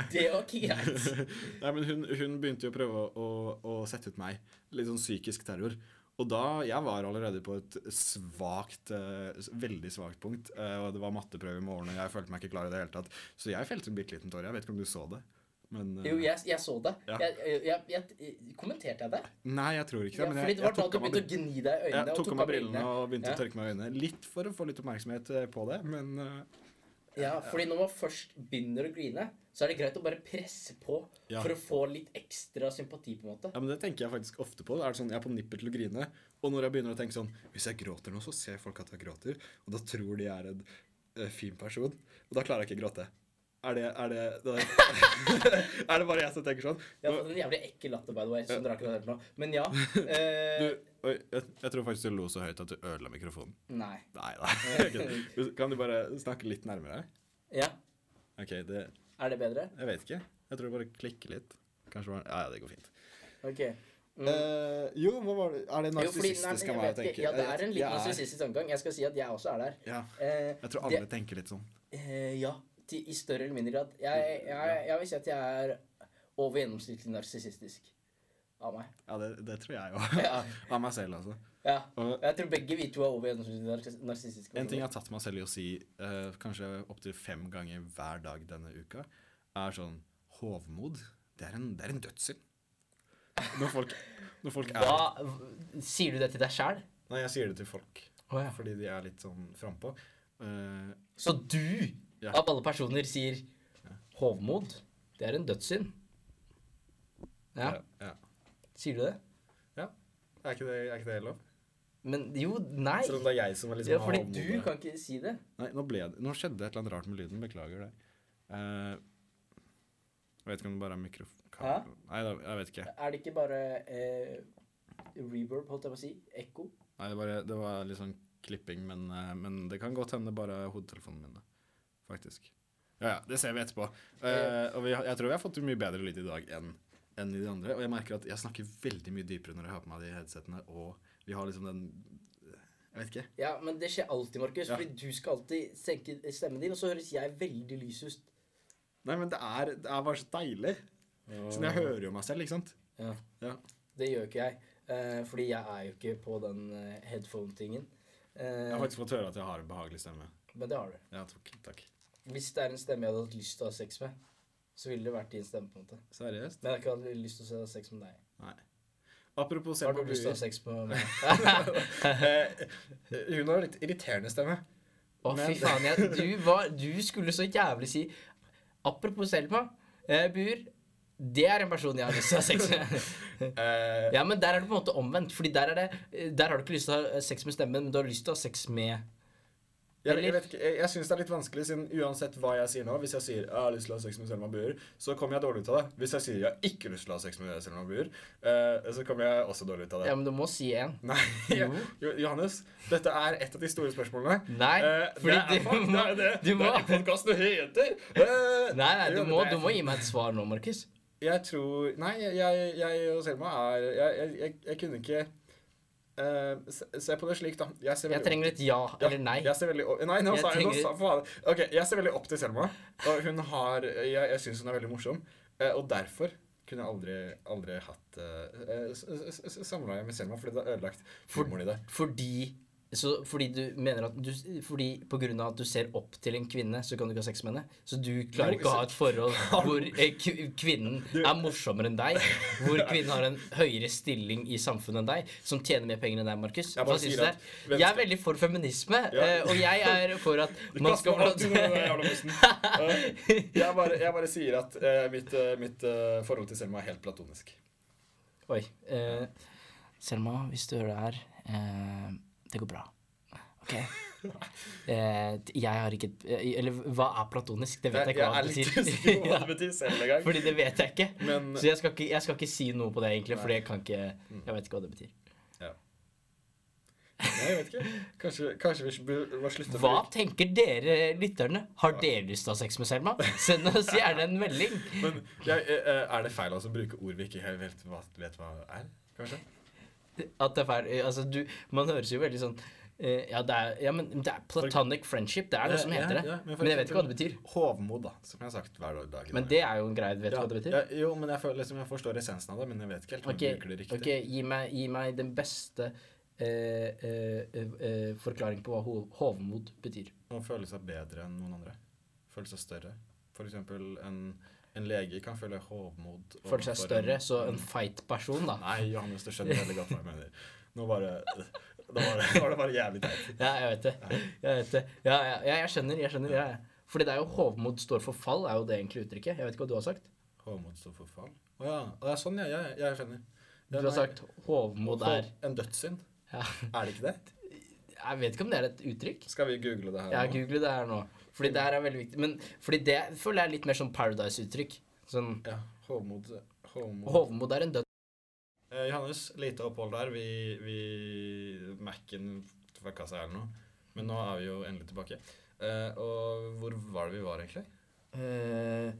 S2: Det var ikke greit.
S3: Nei, men hun, hun begynte jo å prøve å, å, å sette ut meg. Litt sånn psykisk terror. Og da, jeg var allerede på et svagt, eh, s- veldig svagt punkt. eh, og det var matteprøve i morgen, og jeg følte meg ikke klar i det hele tatt. Så jeg felte en bitte liten tåre. Jeg vet ikke om du så det. Men eh,
S2: Jo, jeg, jeg så det.
S3: Ja.
S2: Jeg, jeg, jeg, jeg, kommenterte jeg det?
S3: Nei, jeg tror ikke
S2: Ja,
S3: det. Men
S2: fordi
S3: jeg,
S2: det var
S3: jeg
S2: da
S3: tok
S2: du
S3: av meg
S2: begynte å
S3: brillene.
S2: gni deg i øynene.
S3: Jeg tok av meg brillene og begynte
S2: Ja.
S3: å tørke meg i øynene. Litt for å få litt oppmerksomhet eh, på det, men eh,
S2: Ja, fordi når man først begynner å grine, så er det greit å bare presse på
S3: Ja.
S2: for å få litt ekstra sympati, på en måte.
S3: Ja, men Det tenker jeg faktisk ofte på. Det er sånn, Jeg er på nippet til å grine. Og når jeg begynner å tenke sånn Hvis jeg gråter nå, så ser folk at jeg gråter. Og da tror de jeg er en eh, fin person. Og da klarer jeg ikke å gråte. Er det, er, det, det er det bare jeg som tenker sånn?
S2: Jeg har
S3: Nå-
S2: fått en jævlig ekkel latter, by the way, som dere ikke har hørt nå. Men ja. Eh,
S3: du, oi, jeg, jeg tror faktisk du lo så høyt at du ødela mikrofonen.
S2: nei.
S3: Nei da. Kan du bare snakke litt nærmere?
S2: Ja.
S3: OK, det
S2: Er det bedre?
S3: Jeg vet ikke. Jeg tror det bare klikker litt. Kanskje bare Ja, ja, det går fint.
S2: OK. Mm.
S3: Eh, jo, hva var det Er det
S2: Jo, fordi, nei, men jeg vet ikke. Ja, det er en litt narsissistisk tankegang. Jeg skal si at jeg også er der.
S3: Ja.
S2: Eh,
S3: Jeg tror alle
S2: det-
S3: tenker litt sånn.
S2: eh, Ja. Til, I større eller mindre grad. Jeg, jeg, jeg vil si at jeg er over gjennomsnittlig narsissistisk av meg.
S3: Ja, det, det tror jeg òg.
S2: Ja.
S3: Av meg selv, altså.
S2: Ja.
S3: Og-
S2: Jeg tror begge vi to er over gjennomsnittlig narsis- narsissistiske.
S3: En ting jeg har tatt meg selv i å si eh, kanskje opptil fem ganger hver dag denne uka, er sånn Hovmod, det er en, det er en dødssynd. Når folk, når folk er
S2: Hva Sier du det til deg sjæl?
S3: Nei, jeg sier det til folk,
S2: Oh, ja.
S3: fordi de er litt sånn frampå. Eh,
S2: Så du,
S3: Ja.
S2: av alle personer, sier Hovmod, det er en dødssynd. Ja,
S3: ja.
S2: sier du det?
S3: ja. Er ikke det, er ikke det lov?
S2: Men jo, nei.
S5: Selv om det er jeg som er liksom
S2: Ja,
S3: sånn
S2: fordi
S5: har
S2: du
S5: hovedmodet.
S2: kan ikke si det.
S3: Nei, nå, ble det, nå skjedde det et eller annet rart med lyden. Beklager det. Eh, jeg vet ikke om det bare er
S2: Hæ?
S3: mikrofon... Nei, da, jeg vet ikke.
S2: Er det ikke bare eh, reverb, holdt jeg på å si? Ekko?
S3: Nei, det, bare, det var litt sånn klipping, men, eh, men det kan godt hende bare hodetelefonene mine, faktisk. Ja, ja, det ser vi etterpå. Eh, og vi, har- jeg tror vi har fått mye bedre lyd i dag enn enn i de andre, og jeg merker at jeg snakker veldig mye dypere når jeg har på meg de headsetene, og vi har liksom den Jeg vet ikke.
S2: Ja, men det skjer alltid, Markus.
S3: Ja.
S2: Fordi du skal alltid senke stemmen din, og så høres jeg veldig lys ut.
S3: Nei, men det er, det er bare så deilig. Siden jeg hører jo meg selv, ikke sant?
S2: Ja.
S3: Ja.
S2: Det gjør jo ikke jeg. eh, fordi jeg er jo ikke på den eh, headphone-tingen. Eh,
S3: Jeg har faktisk fått høre at jeg har en behagelig stemme.
S2: men det har du.
S3: Ja, takk. takk.
S2: Hvis det er en stemme jeg hadde hatt lyst til å ha sex med, så ville det vært din stemme. på en måte.
S3: Seriøst?
S2: Men jeg har ikke hatt lyst til å ha sex med deg.
S3: Nei. Apropos se
S2: Har
S3: på
S2: du lyst til å ha
S3: buer.
S2: sex med meg?
S3: Eh, Hun har litt irriterende stemme.
S2: Å, fy
S3: Men-
S2: faen. Jeg, du, var, du skulle så jævlig si Apropos Selma. Eh, Bur, det er en person jeg har lyst til å ha sex med.
S3: Eh,
S2: ja, men der er det på en måte omvendt. Fordi der, er det, eh, der har du ikke lyst til å ha sex med stemmen, men du har lyst til å ha sex med
S3: Jeg, jeg,
S2: Eller-
S3: vet ikke, jeg, jeg syns det er litt vanskelig, siden uansett hva jeg sier nå Hvis jeg sier jeg har lyst til å ha sex med Selma Buer, så kommer jeg dårlig ut av det. Hvis jeg sier jeg har ikke lyst til å ha sex med Selma Buer, eh, så kommer jeg også dårlig ut av det.
S2: Ja, men du må si en.
S3: Nei, Jo- Johannes, dette er et av de store spørsmålene.
S2: Nei,
S3: Eh,
S2: fordi
S3: det er
S2: du
S3: faen,
S2: må-
S3: det er
S2: du
S3: det, det
S2: må-
S3: er det podkasten heter! Eh,
S2: Nei, nei, du
S3: jo, men
S2: må,
S3: det
S2: du
S3: er-
S2: må gi meg et svar nå, Markus.
S3: Jeg tror Nei, jeg, jeg og Selma er Jeg, jeg, jeg, jeg kunne ikke eh, se, se på det slik, da. Jeg, ser veldig
S2: Jeg
S3: opp-
S2: trenger et ja
S3: Ja,
S2: eller nei.
S3: Jeg ser veldig opp, nei, nå
S2: Jeg
S3: sa jeg nå
S2: trenger-
S3: sa, faen. Ok, jeg ser veldig opp til Selma. Og hun har Jeg, jeg syns hun er veldig morsom. eh, Og derfor kunne jeg aldri, aldri eh, hatt uh, samleie med Selma, fordi det er ødelagt humoren i det.
S2: Fordi Så fordi du mener at du, fordi på grunn av at du ser opp til en kvinne, så kan du ikke ha sex med henne. Så du klarer
S3: Jo,
S2: ikke å ha
S3: så-
S2: et forhold hvor eh, kv- kvinnen er morsommere enn deg, hvor kvinnen har en høyere stilling i samfunnet enn deg, som tjener mer penger enn deg, Markus.
S3: Jeg bare
S2: Hva syns
S3: sier
S2: du
S3: at
S2: der?
S3: hvem
S2: Jeg er
S3: skal-
S2: veldig for feminisme,
S3: Ja.
S2: eh, og jeg er for at man skal
S3: Eh, Jeg bare, jeg bare sier at eh, mitt, eh, mitt eh, forhold til Selma er helt platonisk.
S2: Oi. eh, Selma, hvis du hører det her, eh, det går bra. OK. Eh, t- jeg har ikke et eh, Eller hva er platonisk? Det vet jeg ikke
S3: jeg
S2: hva
S3: er
S2: det
S3: litt usikker på hva
S2: sier.
S3: det betyr selv engang.
S2: Fordi det vet jeg ikke.
S3: Men-
S2: Så jeg skal ikke, jeg skal ikke si noe på det, egentlig, for
S3: Nei.
S2: jeg kan ikke
S3: Mm.
S2: Jeg vet ikke hva det betyr.
S3: Nei, jeg vet ikke. Kanskje, kanskje vi bør bør slutte å
S2: Hva
S3: bruke-
S2: tenker dere lytterne? Har dere lyst til å ha sex med Selma? Send oss gjerne en melding.
S3: Men jeg, eh, eh, er det feil altså, å bruke ord vi ikke helt vet hva, vet hva er? Kanskje?
S2: At det er feil Altså, du Man høres jo veldig sånn eh, ja, det er, ja, men det er platonic friendship. Det er det som
S3: Ja,
S2: heter
S3: ja,
S2: det.
S3: ja, men for
S2: Men jeg vet ikke hva det
S3: eksempel-
S2: betyr.
S3: Hovmod, da, som jeg har sagt hver dag. i
S2: Men
S3: dag.
S2: det er jo en greie. Vet du
S3: Ja,
S2: hva det betyr?
S3: ja, jo, men jeg, føler, liksom, jeg forstår essensen av det, men jeg vet ikke helt om
S2: Ok,
S3: jeg bruker det riktig.
S2: ok, gi meg, gi meg den beste eh, eh, eh, eh, forklaring på hva ho- hovmod betyr.
S3: Å føle seg bedre enn noen andre. Føle seg større. For eksempel en, en lege kan føle hovmod.
S2: Føle seg
S3: overfor
S2: større,
S3: en- Mm.
S2: så en feit-person, da.
S3: Nei, Johannes, du skjønner veldig godt hva jeg mener. Nå bare Da var det, nå var det bare jævlig teit.
S2: Ja, jeg vet det. Jeg vet det. Ja, ja, ja, jeg skjønner. jeg skjønner, ja, ja. Fordi det er jo hovmod står for fall, er jo det egentlig uttrykket. Jeg vet ikke hva du har sagt.
S3: Hovmod står for fall. Å ja. Å, ja sånn, ja. Jeg, jeg skjønner. Ja,
S2: Du har
S3: nei,
S2: sagt hovmod er
S3: hov- En dødssynd.
S2: ja.
S3: Er det ikke det?
S2: Jeg vet ikke om det er et uttrykk.
S3: Skal vi google det her
S2: Ja,
S3: nå?
S2: google det her nå. Fordi det her er veldig viktig. Men fordi det føler jeg er litt mer sånn Paradise-uttrykk. Sånn
S3: Ja. Hovmod. Hovmod.
S2: Hovmod er en død
S3: Eh, Johannes, lite opphold der. Vi, vi Mac-en forkasta eller noe. Men nå er vi jo endelig tilbake. Eh, og hvor var det vi var, egentlig?
S2: Eh,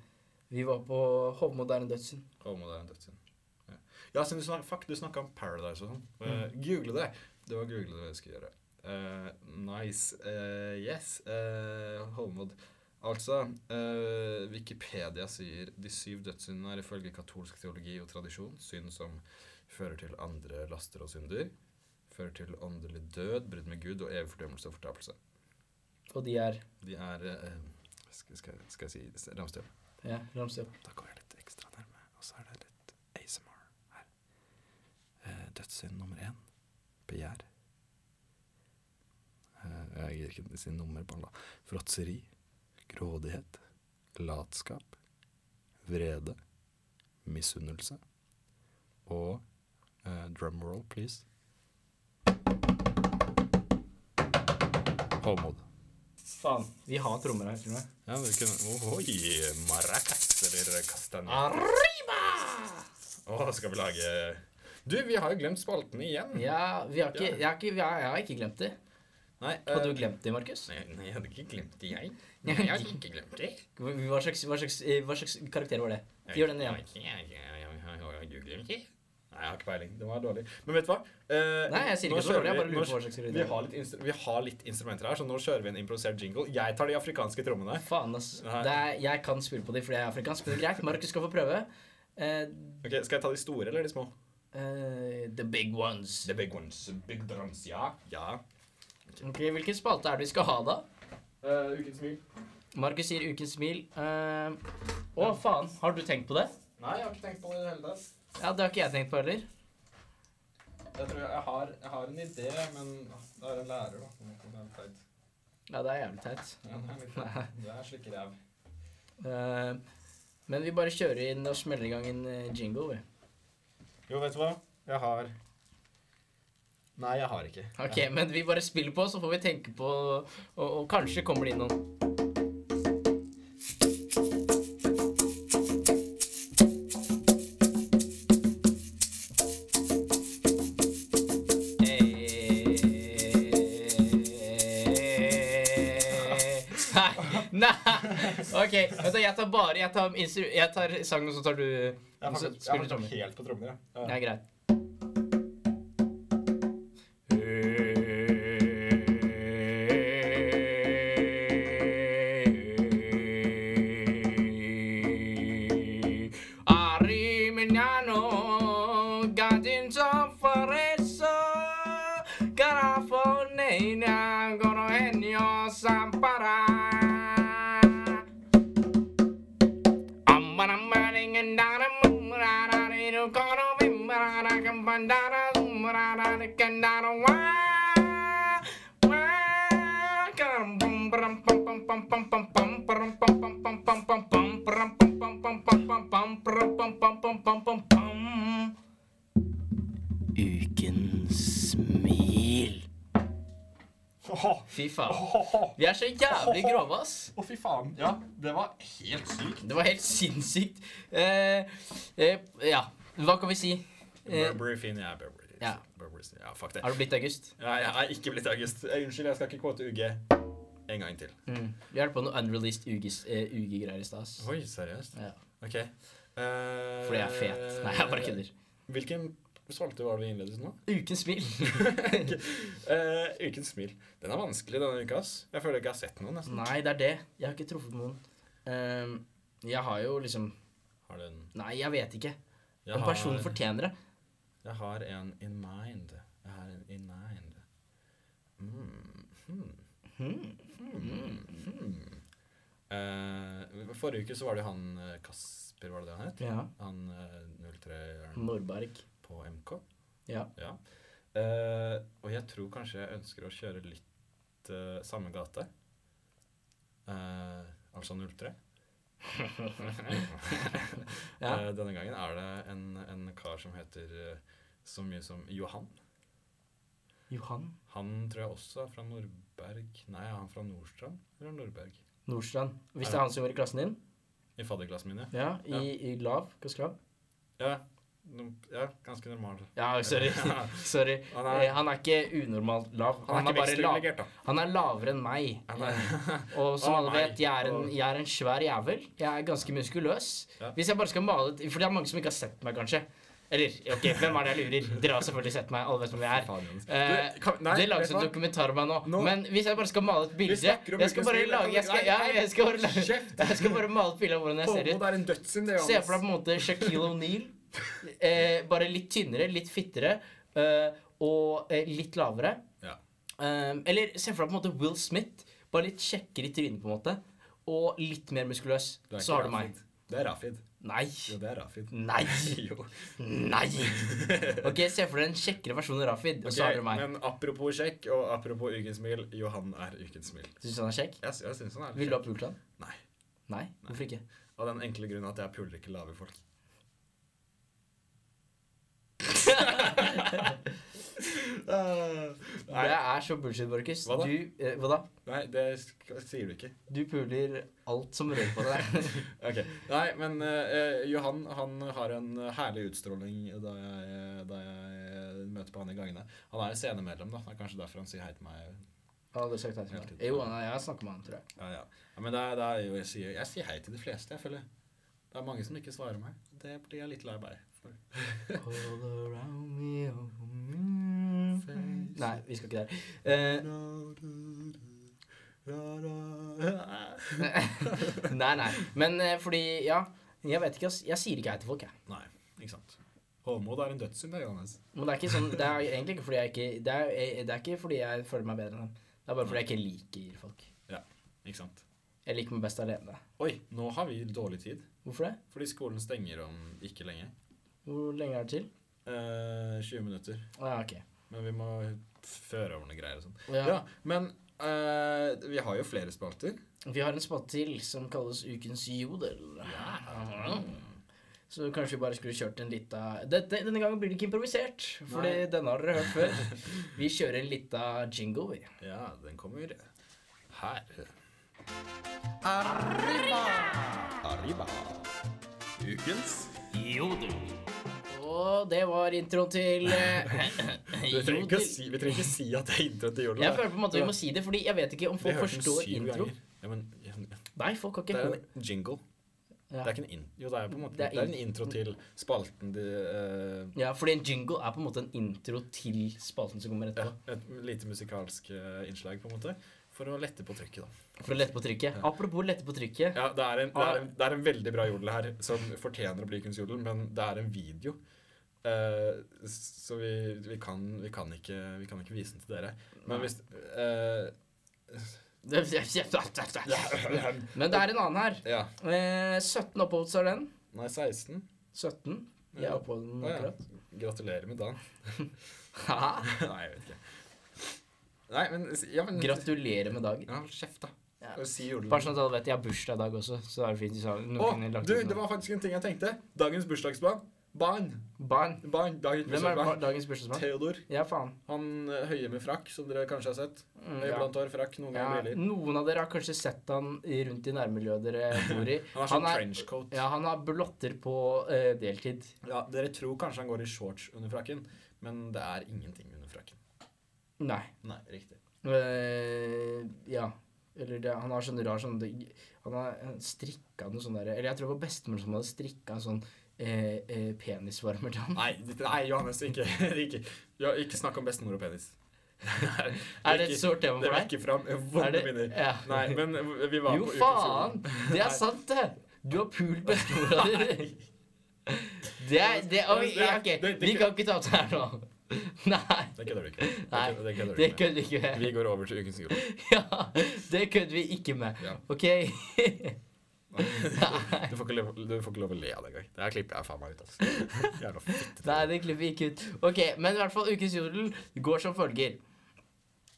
S2: Vi var på Hovmod er en dødssynd.
S3: Hovmod er en dødssynd. Ja, ja siden du snak, fuck, du snakka om Paradise og sånn. Eh, Google det! Det var google det jeg skulle gjøre. Eh, nice. Eh, yes. Eh, Hovmod. Altså, eh, Wikipedia sier de syv dødssyndene er ifølge katolsk teologi og tradisjon synd som fører til andre laster og synder. Fører til åndelig død, brudd med Gud og evig fordømmelse og fortapelse.
S2: Og de er
S3: De er eh, skal, skal, skal jeg si Ramstø?
S2: Ja, ramse opp.
S3: Da går jeg litt ekstra nærme, og så er det litt ASMR her. Eh, dødssynd nummer én begjær. Eh, jeg gir ikke si nummer på alle. Fråtseri, grådighet, latskap, vrede, misunnelse og eh, drumroll, please. Håmod.
S2: Faen. Vi har trommer her, til og med.
S3: Ja, du kunne Ohoi! Maracas eller kastanje.
S2: Arriba!
S3: Å, skal vi lage Du, vi har jo glemt spaltene igjen.
S2: Ja, vi har ikke, jeg, har ikke, jeg, har, jeg har ikke glemt det.
S3: Nei,
S2: Hadde
S3: eh,
S2: du glemt det, Markus?
S3: Nei, nei, jeg hadde ikke glemt det, jeg. Nei, jeg hadde ikke glemt det.
S2: Hva slags, hva, slags, eh, hva slags karakter var det? Gjør den igjen.
S3: Jeg- jeg- jeg- jeg- jeg- Har du glemt det? Nei, jeg har ikke peiling. Det var dårlig. Men vet du hva? Eh,
S2: Nei, jeg sier ikke
S3: nå
S2: så dårlig,
S3: kjører
S2: jeg
S3: vi-
S2: bare lurer
S3: nå-
S2: på hva slags
S3: vi har, litt instru- vi har litt instrumenter her, så nå kjører vi en improvisert jingle. Jeg tar de afrikanske trommene.
S2: Faen, ass.
S3: Nei.
S2: Det er, jeg kan spille på de fordi jeg er afrikansk, men det er greit. Markus skal få prøve. Eh,
S3: Ok, Skal jeg ta de store eller de små?
S2: eh, the big ones.
S3: The big ones. Big drums, ja. Ja.
S2: Ok, Hvilken spalte er det vi skal ha, da?
S3: Uh, ukens smil.
S2: Markus sier Ukens smil. Eh, Å, faen. Har du tenkt på det?
S3: Nei, jeg har ikke tenkt på det i det hele tatt.
S2: Ja, Det har ikke jeg tenkt på heller.
S3: Jeg tror jeg, har, jeg har en idé, men det er en lærer, da. på en måte. Det er litt teit.
S2: Ja, det er jævlig teit.
S3: Ja, det er litt teit. Det er slik ræv.
S2: Eh, men vi bare kjører inn og smeller i gang en eh, jingle, vi.
S3: Jo, vet du hva? Jeg har Nei, jeg har ikke.
S2: Ok, men vi bare spiller på, så får vi tenke på Og, og kanskje kommer det inn noen. Eh. Nei, nei. Ok, vent da, jeg tar bare Jeg tar, instru jeg tar sang, og så tar du
S3: Jeg
S2: så
S3: har
S2: spiller du
S3: faktisk
S2: trommer.
S3: helt på trommer, ja.
S2: Det er greit. Ariminano, gadins of Foresa, Garafone, Ukens smil.
S3: Å,
S2: Fy faen. Vi er så jævlig grove, ass.
S3: fy faen. Ja, det var helt sykt.
S2: Det var helt sinnssykt. Eh, eh, ja, hva kan vi si? Eh,
S3: Burberry fin, ja. Burberry.
S2: Ja.
S3: Burberry fin. Ja, fuck det.
S2: har du blitt August?
S3: Ja, jeg er ikke blitt August. Eh, Unnskyld, jeg skal ikke kåte UG. En gang til.
S2: Vi holdt på noe unreleased UG-greier i stad. ass.
S3: Oi, seriøst?
S2: Ja.
S3: Ok. Eh,
S2: Fordi jeg er fet. Nei, jeg bare kødder.
S3: Hvilken spalte var det vi innledet nå?
S2: Ukens smil.
S3: Eh, ukens smil. Den er vanskelig denne uka, ass. Jeg føler jeg ikke har sett noen, nesten.
S2: Nei, det er det. Jeg har ikke truffet noen. Ehm, jeg har jo liksom
S3: Har du en
S2: Nei, jeg vet ikke.
S3: Jeg
S2: Om personen
S3: har-
S2: fortjener det.
S3: Jeg har en in mind. Jeg har en in mind. Mm. Hmm. Hmm. Hmm. Eh, forrige uke så var det jo han eh, Kasper, var det det han het?
S2: Ja.
S3: Han eh, 03-eren
S2: Norberg.
S3: på MK.
S2: Ja.
S3: Ja. Eh, og jeg tror kanskje jeg ønsker å kjøre litt eh, samme gate. Eh, altså 03.
S2: Ja.
S3: Eh, denne gangen er det en, en kar som heter eh, så mye som Johan.
S2: Johan
S3: Han tror jeg også er fra Nordberg Nei, er han fra Nordstrand eller Nordberg?
S2: Nordstrand. Hvis det er han som var i klassen din?
S3: I fadderklassen min, ja.
S2: Ja, i, i lav? Klasselav?
S3: Ja, no, ja ganske normal.
S2: Ja, sorry.
S3: Ja.
S2: sorry.
S3: Han er-
S2: Eh, Han er ikke unormalt lav.
S3: Han er
S2: Han er,
S3: ikke
S2: bare lav.
S3: vekstprivilegert, da.
S2: Han er lavere enn meg.
S3: Han er,
S2: Og som
S3: Å,
S2: alle
S3: nei.
S2: vet, jeg er, en,
S3: Å.
S2: jeg er en svær jævel. Jeg er ganske muskuløs.
S3: Ja.
S2: Hvis jeg bare skal male For det er mange som ikke har sett meg, kanskje. Eller OK, hvem er det jeg lurer? Dere har selvfølgelig sett meg. Alle vet hvem jeg er.
S3: Faen, Jonas.
S2: Eh,
S3: Du, kan- nei,
S2: det
S3: vet
S2: lages
S3: du
S2: en
S3: hva?
S2: dokumentar om meg nå.
S3: Nå-
S2: Men hvis jeg bare skal male et bilde Jeg
S3: snakker om
S2: skal bare
S3: ukens bilde,
S2: lage jeg skal,
S3: kan du-
S2: ja,
S3: nei, nei,
S2: jeg, skal bare, lage-
S3: kjeft.
S2: jeg skal bare male et bilde av hvordan jeg ser
S3: Homo,
S2: ut.
S3: det er en dødssynd, det,
S2: Se for deg på en måte Shaquille O'Neal. Eh, bare litt tynnere, litt fittere eh, og eh, litt lavere.
S3: Ja.
S2: Um, eller se for deg på en måte Will Smith. Bare litt kjekkere i trynet, på en måte. Og litt mer muskuløs.
S3: Du er ikke
S2: Så har du meg.
S3: Rafid. Det altså. er Rafid.
S2: Nei.
S3: Jo, det er Rafid.
S2: Nei.
S3: Jo.
S2: Nei! Ok, se for deg en kjekkere versjon av Rafid, og så har
S3: Ok,
S2: du meg.
S3: Men apropos sjekk, og apropos ukens smil, Johan er ukens smil.
S2: Syns du han er kjekk?
S3: Jeg, sy- jeg syns han er
S2: Vil du ha pultland?
S3: Nei.
S2: Nei? Hvorfor ikke?
S3: Av den enkle grunnen at jeg puler ikke lave folk. Eh, nei,
S2: Det er så bullshit, Borkus.
S3: Hva da?
S2: Du, eh, hva da?
S3: nei, det sk- sier du ikke.
S2: Du puler alt som rører på deg.
S3: Ok, Nei, men eh, eh, Johan han har en eh, herlig utstråling da jeg, eh, da jeg eh, møter på han i gangene. Han er jo scenemedlem, da. Det er kanskje derfor han sier hei til meg.
S2: Jeg har aldri sagt hei til
S3: Helt
S2: meg.
S3: riktig.
S2: Jo, nei, jeg har snakket med han, tror jeg.
S3: Ja, ja. ja men det er, det er jo, jeg, sier, jeg sier hei til de fleste, jeg føler. Det er mange som ikke svarer meg. Det blir jeg litt lei meg for.
S2: All around me, oh, mm. Nei, vi skal ikke der. Eh, nei, nei. Men eh, fordi, ja. Jeg vet ikke, ass. Jeg sier ikke hei til folk, jeg.
S3: Nei, ikke sant. Håmod er en dødssynd, det, Johannes.
S2: Men det er ikke sånn Det er egentlig ikke fordi jeg ikke Det er, jeg- det er ikke fordi jeg føler meg bedre enn dem. Det er bare fordi jeg ikke liker folk.
S3: Ja, ikke sant.
S2: Jeg liker meg best alene.
S3: Oi, nå har vi dårlig tid.
S2: Hvorfor det?
S3: Fordi skolen stenger om ikke lenge.
S2: Hvor lenge er det til?
S3: Eh, 20 minutter.
S2: Å ja, ok.
S3: Men vi må føre over noen greier og sånn.
S2: Ja.
S3: Ja. men eh, vi har jo flere spalter.
S2: Vi har en spatte til som kalles Ukens jodel. Mm. Så kanskje vi bare skulle kjørt en lita Dette, Denne gangen blir det ikke improvisert, for
S3: Nei.
S2: denne har dere hørt før. Vi kjører en lita jingle, vi.
S3: Ja, den kommer her.
S1: Arriba. Ukens
S2: Og det var introen til eh,
S3: Vi trenger ikke
S2: jodel.
S3: å si, vi trenger ikke si at det er intro til jorden.
S2: Jeg føler på en måte vi må si det, fordi jeg vet ikke om folk
S3: har hørt den
S2: forstår
S3: syv
S2: intro.
S3: ganger. Ja, men, ja, men,
S2: Nei, folk har
S3: det
S2: ikke
S3: er
S2: hørt
S3: en jingle.
S2: Ja.
S3: Det er ikke en in jo, det er på en måte
S2: Det
S3: det
S2: er
S3: er, en intro til spalten de, eh,
S2: Ja, fordi en jingle er på en måte en intro til spalten som kommer
S3: ja,
S2: etterpå.
S3: Et lite musikalsk eh, innslag, på en måte. For å lette på trykket, da.
S2: For å lette på trykket. Apropos lette på trykket.
S3: Ja, det er, en, det, er en, det er en veldig bra jodel her, som fortjener å bli kunst jodel, men det er en video. Eh, så vi, vi, kan, vi, kan ikke, vi kan ikke vise den til dere. Men hvis eh,
S2: Men det er en annen her.
S3: Ja.
S2: Eh, 17 upvotes har den.
S3: Nei, 16.
S2: 17. Jeg er oppå den
S3: Å, ja.
S2: akkurat.
S3: Gratulerer med dagen.
S2: Haha.
S3: Nei, jeg vet ikke. Nei, men, ja, men
S2: Gratulerer med dagen.
S3: Ja, hold kjeft, da.
S2: Ja.
S3: Og si jodel.
S2: Bare sånn at alle vet jeg har bursdag i dag også, så det er fint hvis alle-
S3: Å,
S2: noen kunne lagt
S3: du,
S2: ut
S3: det
S2: noe.
S3: var faktisk en ting jeg tenkte. Dagens bursdagsbarn. Barn.
S2: Barn.
S3: Barn. Dagens
S2: Hvem er bar-
S3: bursdagsbarn.
S2: dagens bursdagsbarn?
S3: Theodor.
S2: Ja, faen.
S3: Han eh, høye med frakk, som dere kanskje har sett.
S2: Mm,
S3: Høy
S2: ja.
S3: blant hår, frakk, noen
S2: Ja,
S3: ganger briller.
S2: noen av dere har kanskje sett han i- rundt i nærmiljøet dere bor i.
S3: Han har sånn trenchcoat.
S2: ja, han har blotter på eh, deltid.
S3: Ja, dere tror kanskje han går i shorts under frakken, men det er ingenting under frakken.
S2: Nei.
S3: Nei, riktig.
S2: Eh, ja. Eller det, han har sånn rar sånn Han har strikka noe sånn derre Eller jeg tror det var bestemor som hadde strikka en sånn eh, eh, penisvarmer til han.
S3: Nei, det- nei Johannes, ikke, ikke, ja, ikke snakk om bestemor og penis.
S2: Er det et stort tema for
S3: Det
S2: deg?
S3: vekker fram eh,
S2: Er
S3: vonde
S2: det-
S3: minner.
S2: ja.
S3: Nei, men vi var
S2: Jo,
S3: på
S2: faen!
S3: ukeskolen.
S2: Det er sant, det! Du har pult bestemora di. Det er det, oi,
S3: Det er-
S2: OK,
S3: det- det-
S2: vi kan ikke ta opp det her nå. Nei.
S3: Det kødder du ikke med. Det
S2: Nei,
S3: kødder- det kødder du
S2: Det
S3: ikke med.
S2: kødder vi ikke med.
S3: Vi går over til ukens jord.
S2: Ja, det kødder vi ikke med.
S3: Ja.
S2: OK?
S3: Du får, ikke lov, du får ikke lov å le av det engang. Det her klipper jeg faen meg ut. Altså. Jævla fitte.
S2: Nei, det klipper vi ikke ut. Ok, Men i hvert fall Ukens jodel går som følger.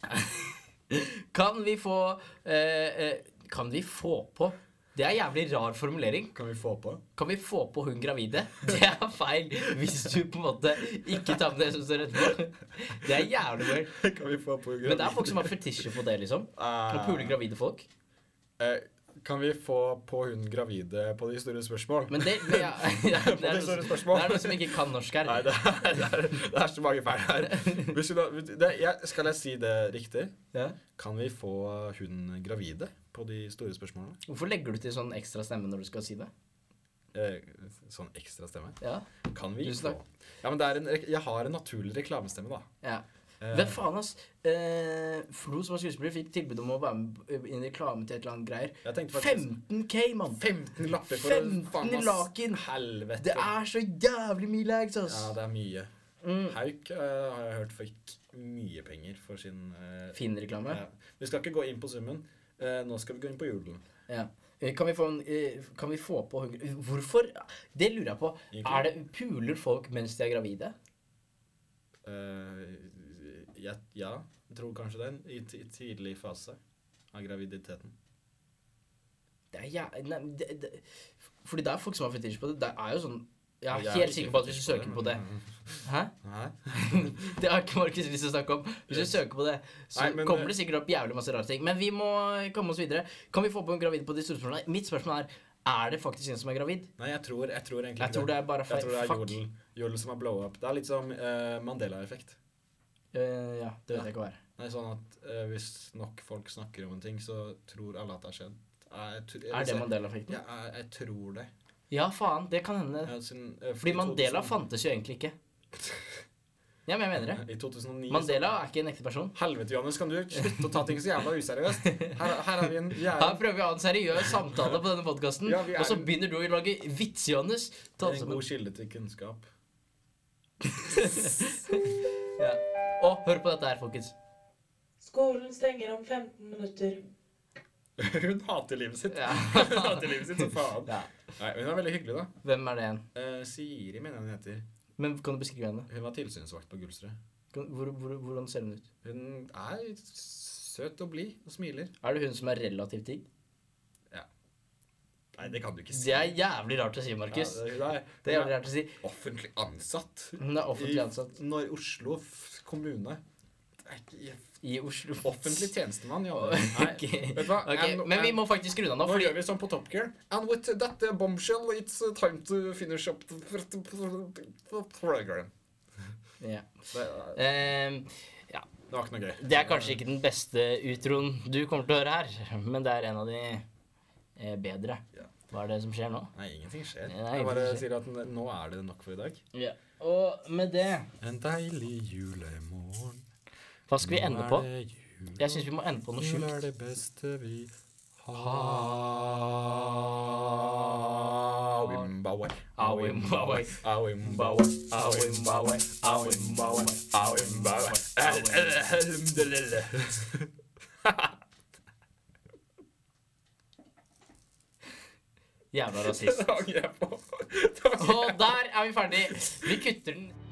S2: Kan vi få eh, eh, Kan vi få på Det er en jævlig rar formulering.
S3: Kan vi få på?
S2: Kan vi få på hun gravide? Det er feil hvis du på en måte ikke tar med det som står etterpå. Det er jævlig feil.
S3: Kan vi få på gravid?
S2: Men det er folk som har fetisjer på det, liksom. Å
S3: Ah.
S2: pule gravide folk.
S3: Eh, kan vi få på hun gravide på de store spørsmål?
S2: Men det, ja, ja, det,
S3: Det
S2: er
S3: er
S2: noe,
S3: store
S2: som-
S3: spørsmål.
S2: det er noe som ikke kan norsk her.
S3: Nei, det er, det, er, det er så mange feil her. Hvis vi da, det, jeg, skal jeg si det riktig?
S2: Ja.
S3: Kan vi få hun gravide på de store spørsmålene?
S2: Hvorfor legger du til sånn ekstra stemme når du skal si det?
S3: Eh, sånn ekstra stemme.
S2: Ja.
S3: Kan vi
S2: Tusen
S3: få
S2: takk.
S3: Ja, men det er en, rek- Jeg har en naturlig reklamestemme, da.
S2: ja.
S3: Eh,
S2: Hvem faen, ass? Eh, Flo som var skuespiller, fikk tilbud om å være med i en reklame til et eller annet greier.
S3: Jeg tenkte faktisk
S2: 15K, mann!
S3: 15 lapper for
S2: 15
S3: ass.
S2: laken.
S3: Helvete.
S2: Det er så jævlig mye lags, ass!
S3: Ja, det er mye.
S2: Mm.
S3: Hauk eh, har jeg hørt fikk mye penger for sin eh,
S2: Fin reklame.
S3: ja. Vi skal ikke gå inn på summen. Eh, nå skal vi gå inn på jodelen.
S2: Ja. Eh, Kan vi, få en, eh, kan vi få på hunger... Hvorfor? Det lurer jeg på.
S3: Egentlig.
S2: Er det Puler folk mens de er gravide?
S3: Eh, jeg, ja, jeg tror kanskje den. I, ti- i tidlig fase av graviditeten.
S2: Det er jæ... Nei, det, det... Fordi det er folk som har fetisj på det. Det er jo sånn Jeg
S3: Jeg
S2: er
S3: er
S2: helt
S3: ikke
S2: sikker på at hvis du
S3: fetisj på
S2: søker
S3: det,
S2: på det
S3: men-
S2: Hæ?
S3: Nei.
S2: Det har ikke Markus lyst til å snakke om. Hvis du søker på det, så
S3: Nei, men- eh,
S2: kommer det sikkert opp jævlig masse rare ting. Men vi må komme oss videre. Kan vi få på en gravid på de store spørsmålene? Mitt spørsmål er er det faktisk en som er gravid.
S3: Nei, jeg tror, jeg tror egentlig
S2: Jeg tror det er bare
S3: Jeg
S2: feil.
S3: tror det er
S2: Fuck.
S3: jodel, jodel som er blow up. Det er litt som eh, Mandela-effekt.
S2: Eh, ja, det vet jeg ikke hva er.
S3: Nei, sånn at eh, Hvis nok folk snakker om en ting, så tror alle at det har skjedd. Jeg, jeg, jeg,
S2: Er det
S3: jeg,
S2: Mandela-effekten?
S3: jeg, jeg, jeg tror det.
S2: Ja, faen. Det kan hende.
S3: Ja, siden, eh,
S2: Fordi
S3: i
S2: Mandela
S3: 2000
S2: fantes jo egentlig ikke. Ja, men jeg mener
S3: I
S2: det.
S3: 2009
S2: Mandela er ikke en ekte person.
S3: så- Helvete, Johannes, kan du slutte å ta ting så jævla useriøst? Her, her er vi en
S2: Her
S3: jævla
S2: prøver vi å ha en seriøs samtale på denne podkasten,
S3: Ja, vi er
S2: og så
S3: en-
S2: begynner du å lage vits, Johannes. Ta
S3: en
S2: det som
S3: god
S2: en
S3: kilde til kunnskap.
S2: ja. Å, hør på dette her, folkens.
S6: Skolen stenger om 15 minutter.
S3: Hun hater livet sitt.
S2: Ja.
S3: Hun hater livet sitt som faen.
S2: Ja.
S3: Nei, hun er veldig hyggelig, da.
S2: Hvem er det igjen?
S3: Eh, Siri, mener jeg hun heter.
S2: Men kan du beskrive henne?
S3: Hun var tilsynsvakt på Gullstrø.
S2: Kan- Hvor, hvor, hvordan ser hun ut?
S3: Hun er søt og blid og smiler.
S2: Er det hun som er relativt digg?
S3: Nei, det kan du ikke si.
S2: Det er jævlig rart å si, Markus.
S3: Ja, hun er,
S2: Det er jævlig rart å si.
S3: offentlig ansatt.
S2: Hun er offentlig ansatt
S3: I når Oslo f- kommune Det er ikke
S2: i Oslo.
S3: Offentlig tjenestemann, ja. Nei,
S2: Ok.
S3: vet du hva?
S2: Ok,
S3: And-
S2: Men vi
S3: and-
S2: må faktisk skru den av,
S3: Nå
S2: fordi
S3: gjør vi sånn på Top Gear. And with that uh, bombshell, it's uh, time to finish up the program.
S2: ja.
S3: Det, er-
S2: Ehm, ja.
S3: det var ikke noe gøy.
S2: Det er kanskje ikke den beste utroen du kommer til å høre her, men det er en av de eh, bedre.
S3: Ja.
S2: Hva er det som skjer nå?
S3: Nei, ingenting skjer.
S2: Nei,
S3: jeg bare
S2: ingenting skjer.
S3: sier at n- nå er det nok for i dag.
S2: Og med det
S3: En deilig julemorgen.
S2: Hva skal vi
S3: Nå
S2: ende
S3: er
S2: på?
S3: det jul.
S2: Jeg syns vi må ende på noe
S3: Jul
S2: sjukt.
S3: er det beste vi har. Awimbawe.
S2: Awimbawe.
S3: Awimbawe. Awimbawe. Awimbawe. Awimbawe. Elhamdelille.
S2: Jævla rasist.
S3: Det angrer jeg på. Det angrer jeg på.
S2: Oh, Og der er vi ferdig. Vi kutter den.